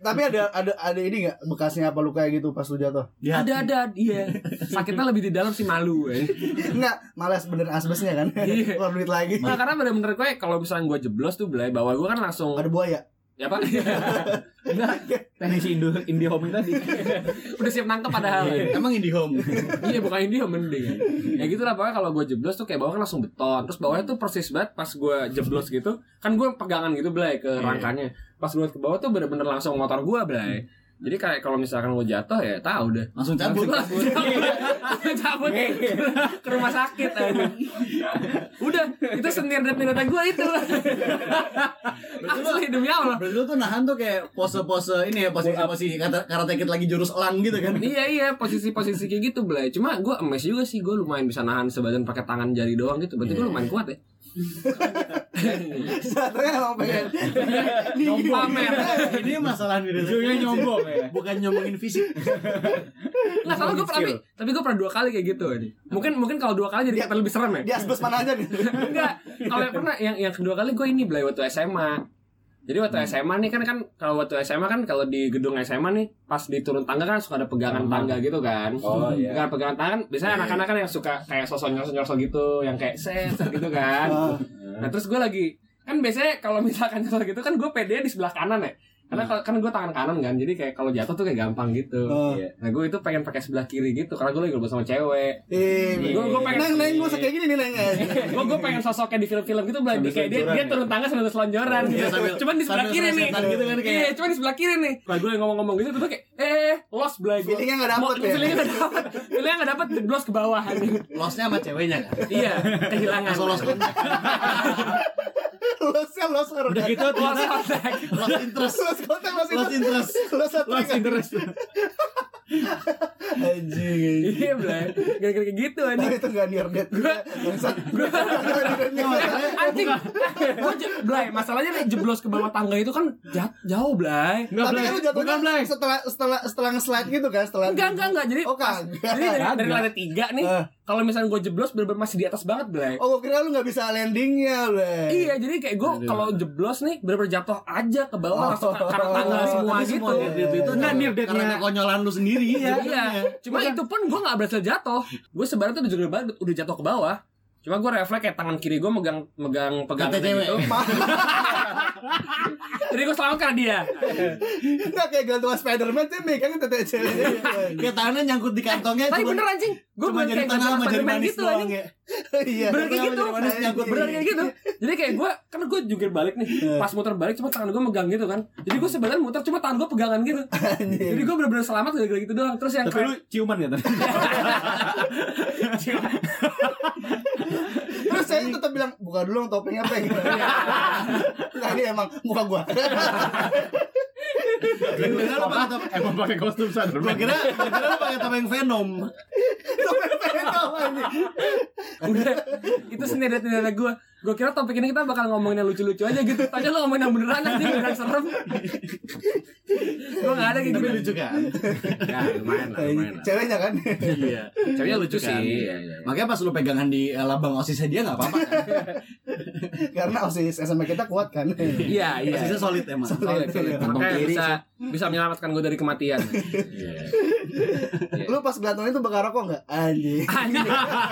Speaker 1: tapi ada ada ada ini nggak bekasnya apa luka gitu pas lu jatuh?
Speaker 3: ada ada iya sakitnya lebih di dalam sih malu eh.
Speaker 1: Enggak, malas bener asbesnya kan.
Speaker 3: Iya.
Speaker 1: Keluar duit lagi.
Speaker 3: Nah, karena bener-bener gue kalau misalnya gue jeblos tuh belai bawah gue kan langsung
Speaker 1: Ada buaya.
Speaker 3: ya apa
Speaker 6: teknisi Indo Indie Home tadi.
Speaker 3: udah siap nangkep padahal
Speaker 4: Emang Indihome.
Speaker 3: iya bukan dia mending ya gitu lah pokoknya kalau gue jeblos tuh kayak bawah kan langsung beton terus bawahnya tuh persis banget pas gue jeblos gitu kan gue pegangan gitu belai ke
Speaker 4: Iya.
Speaker 3: rangkanya pas gue ke bawah tuh bener-bener langsung motor gue belai jadi kayak kalau misalkan gue jatuh ya tahu deh
Speaker 4: Langsung cabut. Iya.
Speaker 3: Langsung cabut. Cabut ke rumah sakit aja. Udah, itu senir dan ternyata gue itu. Asli demi Allah.
Speaker 4: Berarti lu tuh nahan tuh kayak pose-pose ini ya posisi-posisi kata karate kid lagi jurus elang gitu kan.
Speaker 3: Iya iya posisi-posisi kayak gitu belai. Cuma gue emes juga sih gue lumayan bisa nahan sebadan pakai tangan jari doang gitu.
Speaker 4: Iya.
Speaker 3: Berarti gue lumayan kuat ya.
Speaker 1: Sebenarnya emang pengen.
Speaker 3: Iya. Pamer.
Speaker 4: Ini masalah diri
Speaker 6: Ujungnya nyombong ya.
Speaker 4: Bukan nyombongin fisik.
Speaker 3: Nggak Nah, salah gue pernah tapi, tapi gue pernah dua kali kayak gitu. ini. Mungkin mungkin kalau dua kali jadi kata lebih serem ya.
Speaker 1: Di asbes mana aja nih?
Speaker 3: Enggak. Kalau yang pernah yang yang kedua kali gue ini belai waktu SMA. Jadi waktu
Speaker 2: Hmm.
Speaker 3: SMA nih kan kan kalau waktu SMA kan kalau di gedung SMA nih pas diturun tangga kan suka ada pegangan tangga gitu kan.
Speaker 2: Hmm. Oh, iya. Hmm.
Speaker 3: Pegangan pegangan tangan biasanya anak-anak kan yang suka kayak sosok nyosok nyosok gitu yang kayak set set gitu
Speaker 1: Oh,
Speaker 3: kan.
Speaker 2: Hmm.
Speaker 3: nah terus gue lagi kan biasanya kalau misalkan nyosok gitu kan gue pede di sebelah kanan ya. Karena
Speaker 2: Hmm.
Speaker 3: kalau- kan gue tangan kanan kan jadi kayak kalau jatuh tuh kayak gampang gitu.
Speaker 1: Oh.
Speaker 3: Iya. Nah gue itu pengen pakai sebelah kiri gitu karena gue lagi ngobrol sama cewek.
Speaker 1: Eh,
Speaker 3: Gue gue pengen Iya.
Speaker 1: neng neng gue kayak gini nih neng. ya.
Speaker 3: gue gue pengen sosoknya di film-film gitu Bla. Di- kayak dia dia turun tangga sambil selonjoran gitu.
Speaker 4: sambil-
Speaker 3: cuman di sebelah
Speaker 4: sambil
Speaker 3: kiri nih
Speaker 4: setan gitu kan, kayak-
Speaker 3: iya cuman di sebelah kiri nih Nah, gue yang ngomong-ngomong gitu tuh kayak eh lost Bla. gue
Speaker 1: Feelingnya nggak dapet ya?
Speaker 3: feelingnya nggak dapet feelingnya nggak dapet jeblos ke bawah anjing.
Speaker 4: Losnya sama ceweknya kan.
Speaker 3: iya kehilangan
Speaker 4: Langsung los kontak,
Speaker 1: Losnya los orang.
Speaker 6: Udah gitu
Speaker 3: Lost contact.
Speaker 4: los interest.
Speaker 1: Los kontak los
Speaker 4: Los
Speaker 1: interest.
Speaker 4: interest.
Speaker 1: Los
Speaker 6: Los
Speaker 1: kontak.
Speaker 6: interest.
Speaker 1: Anjing.
Speaker 3: iya Bla. gara-gara kayak gitu anjing
Speaker 1: Tapi Nah, itu gak near death. gitu ya. Bangsat.
Speaker 3: anjing gue Blay masalahnya nih jeblos ke bawah tangga itu kan jat- jauh Blay
Speaker 6: Enggak
Speaker 1: Tapi kan lu jatuhnya
Speaker 6: Bukan Blay.
Speaker 1: setelah setelah setelah nge-slide gitu kan setelah
Speaker 3: enggak enggak enggak jadi
Speaker 1: Oh kagak.
Speaker 3: jadi dari, dari lantai tiga nih
Speaker 1: Eh.
Speaker 3: kalau misalnya gue jeblos bener masih di atas banget Blay
Speaker 1: Oh gua kira lu gak bisa landingnya Blay.
Speaker 3: Iya, jadi kayak gue kalau jeblos nih bener-bener jatuh aja ke bawah langsung ke karena tangga
Speaker 1: Oh,
Speaker 3: semua
Speaker 1: tapi
Speaker 3: gitu.
Speaker 1: semua gitu.
Speaker 6: Itu enggak near
Speaker 4: Karena
Speaker 6: death-nya.
Speaker 4: kekonyolan lu sendiri ya.
Speaker 3: Iya, cuma itu pun gue gak berhasil jatuh. Gue sebenarnya tuh udah juga banget udah jatuh ke bawah. Cuma gue refleks kayak tangan kiri gue megang megang pegang
Speaker 4: Kata cewek.
Speaker 3: gitu. Jadi gue selamatkan dia.
Speaker 1: Enggak kayak gantungan Spiderman kan dia megangnya tete ceweknya gitu.
Speaker 4: Kayak tangannya nyangkut di kantongnya
Speaker 3: Eh, Tapi
Speaker 4: cuma
Speaker 3: bener anjing, gue
Speaker 4: cuma
Speaker 3: bener
Speaker 4: jadi
Speaker 3: kayak
Speaker 4: tanah
Speaker 3: gantungan
Speaker 4: sama jadi
Speaker 3: Spiderman
Speaker 4: manis
Speaker 3: gitu anjing.
Speaker 4: doang ya.
Speaker 1: Iya.
Speaker 3: Bener kayak
Speaker 4: Tangan
Speaker 3: gitu.
Speaker 4: sama jadi manis nyangkut.
Speaker 3: Bener kayak gitu. Jadi kayak gue kan gue jungkir balik nih. Pas muter balik cuma tangan gue megang gitu kan. Jadi gue sebenarnya muter cuma tangan gue pegangan gitu.
Speaker 1: Iya.
Speaker 3: Jadi gue bener-bener selamat gara-gara gitu doang. Terus yang
Speaker 6: Tapi lu ciuman ya tadi?
Speaker 1: Terus saya tetap bilang buka dulu dong topengnya apa gitu.
Speaker 4: Iya.
Speaker 1: Nah ini emang muka gua.
Speaker 4: Bener lu pakai top-
Speaker 6: Emang pakai kostum
Speaker 4: Gua
Speaker 6: Spiderman.
Speaker 4: kira gua kira lu pakai topeng Venom.
Speaker 1: Topeng Venom anjing.
Speaker 3: udah itu sendiri dari gue gue kira topik ini kita bakal ngomongin yang lucu-lucu aja gitu tanya lo ngomongin yang beneran aja beneran serem gue gak ada kayak
Speaker 4: Tapi
Speaker 3: gitu
Speaker 4: lucu kan?
Speaker 3: ya lumayan
Speaker 1: Ceweknya kan.
Speaker 4: Iya.
Speaker 3: ceweknya lucu
Speaker 4: Lucu
Speaker 3: sih
Speaker 4: kan?
Speaker 3: Iya, iya.
Speaker 4: Makanya pas lu pegangan di eh, lambang osisnya dia enggak apa-apa kan?
Speaker 1: Karena osis SMA kita kuat kan.
Speaker 3: iya iya
Speaker 4: Osisnya solid emang.
Speaker 3: Solid,
Speaker 4: iya.
Speaker 3: solid. makanya
Speaker 4: kiri,
Speaker 3: bisa bisa menyelamatkan gue dari kematian
Speaker 6: Iya.
Speaker 1: Lu pas gelantungan itu bakar rokok enggak? Anjing.
Speaker 3: anjing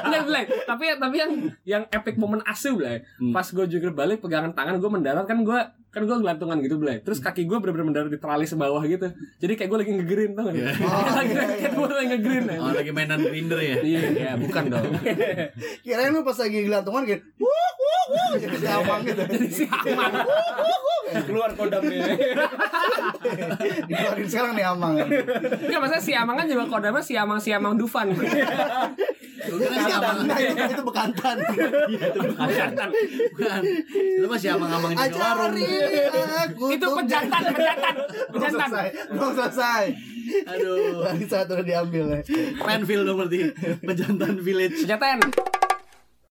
Speaker 3: Blay, blay. tapi tapi yang yang epic momen asu blay pas gue juga balik pegangan tangan gue mendarat kan gue kan gue gelantungan gitu blay terus kaki gue bener-bener mendarat di tralis bawah gitu jadi kayak gue lagi ngegerin tau gak lagi kayak gue lagi ngegerin ya.
Speaker 4: Oh, lagi mainan grinder ya.
Speaker 3: Iya, iya, bukan dong.
Speaker 1: Kirain lu pas lagi gelantungan gitu. Wuh wuh wuh jadi siapa gitu.
Speaker 3: Jadi si Akmal.
Speaker 5: keluar kodamnya
Speaker 1: Dikeluarin sekarang nih amang.
Speaker 3: Enggak maksudnya si Amang kan juga kodamnya si Amang si Amang Dufan.
Speaker 4: Lu kira siapa?
Speaker 1: Nah, itu, itu bekantan.
Speaker 3: Pejantan.
Speaker 4: Bukan. Lu masih abang-abang di warung.
Speaker 1: Ajari aku.
Speaker 3: Itu
Speaker 1: tuh-
Speaker 3: pejantan, pejantan.
Speaker 1: Belum
Speaker 3: Pejantan.
Speaker 1: selesai. Belum selesai.
Speaker 4: Aduh.
Speaker 1: Lagi satu udah diambil. ya.
Speaker 4: Penville dong berarti. Pejantan Village.
Speaker 3: Pejantan.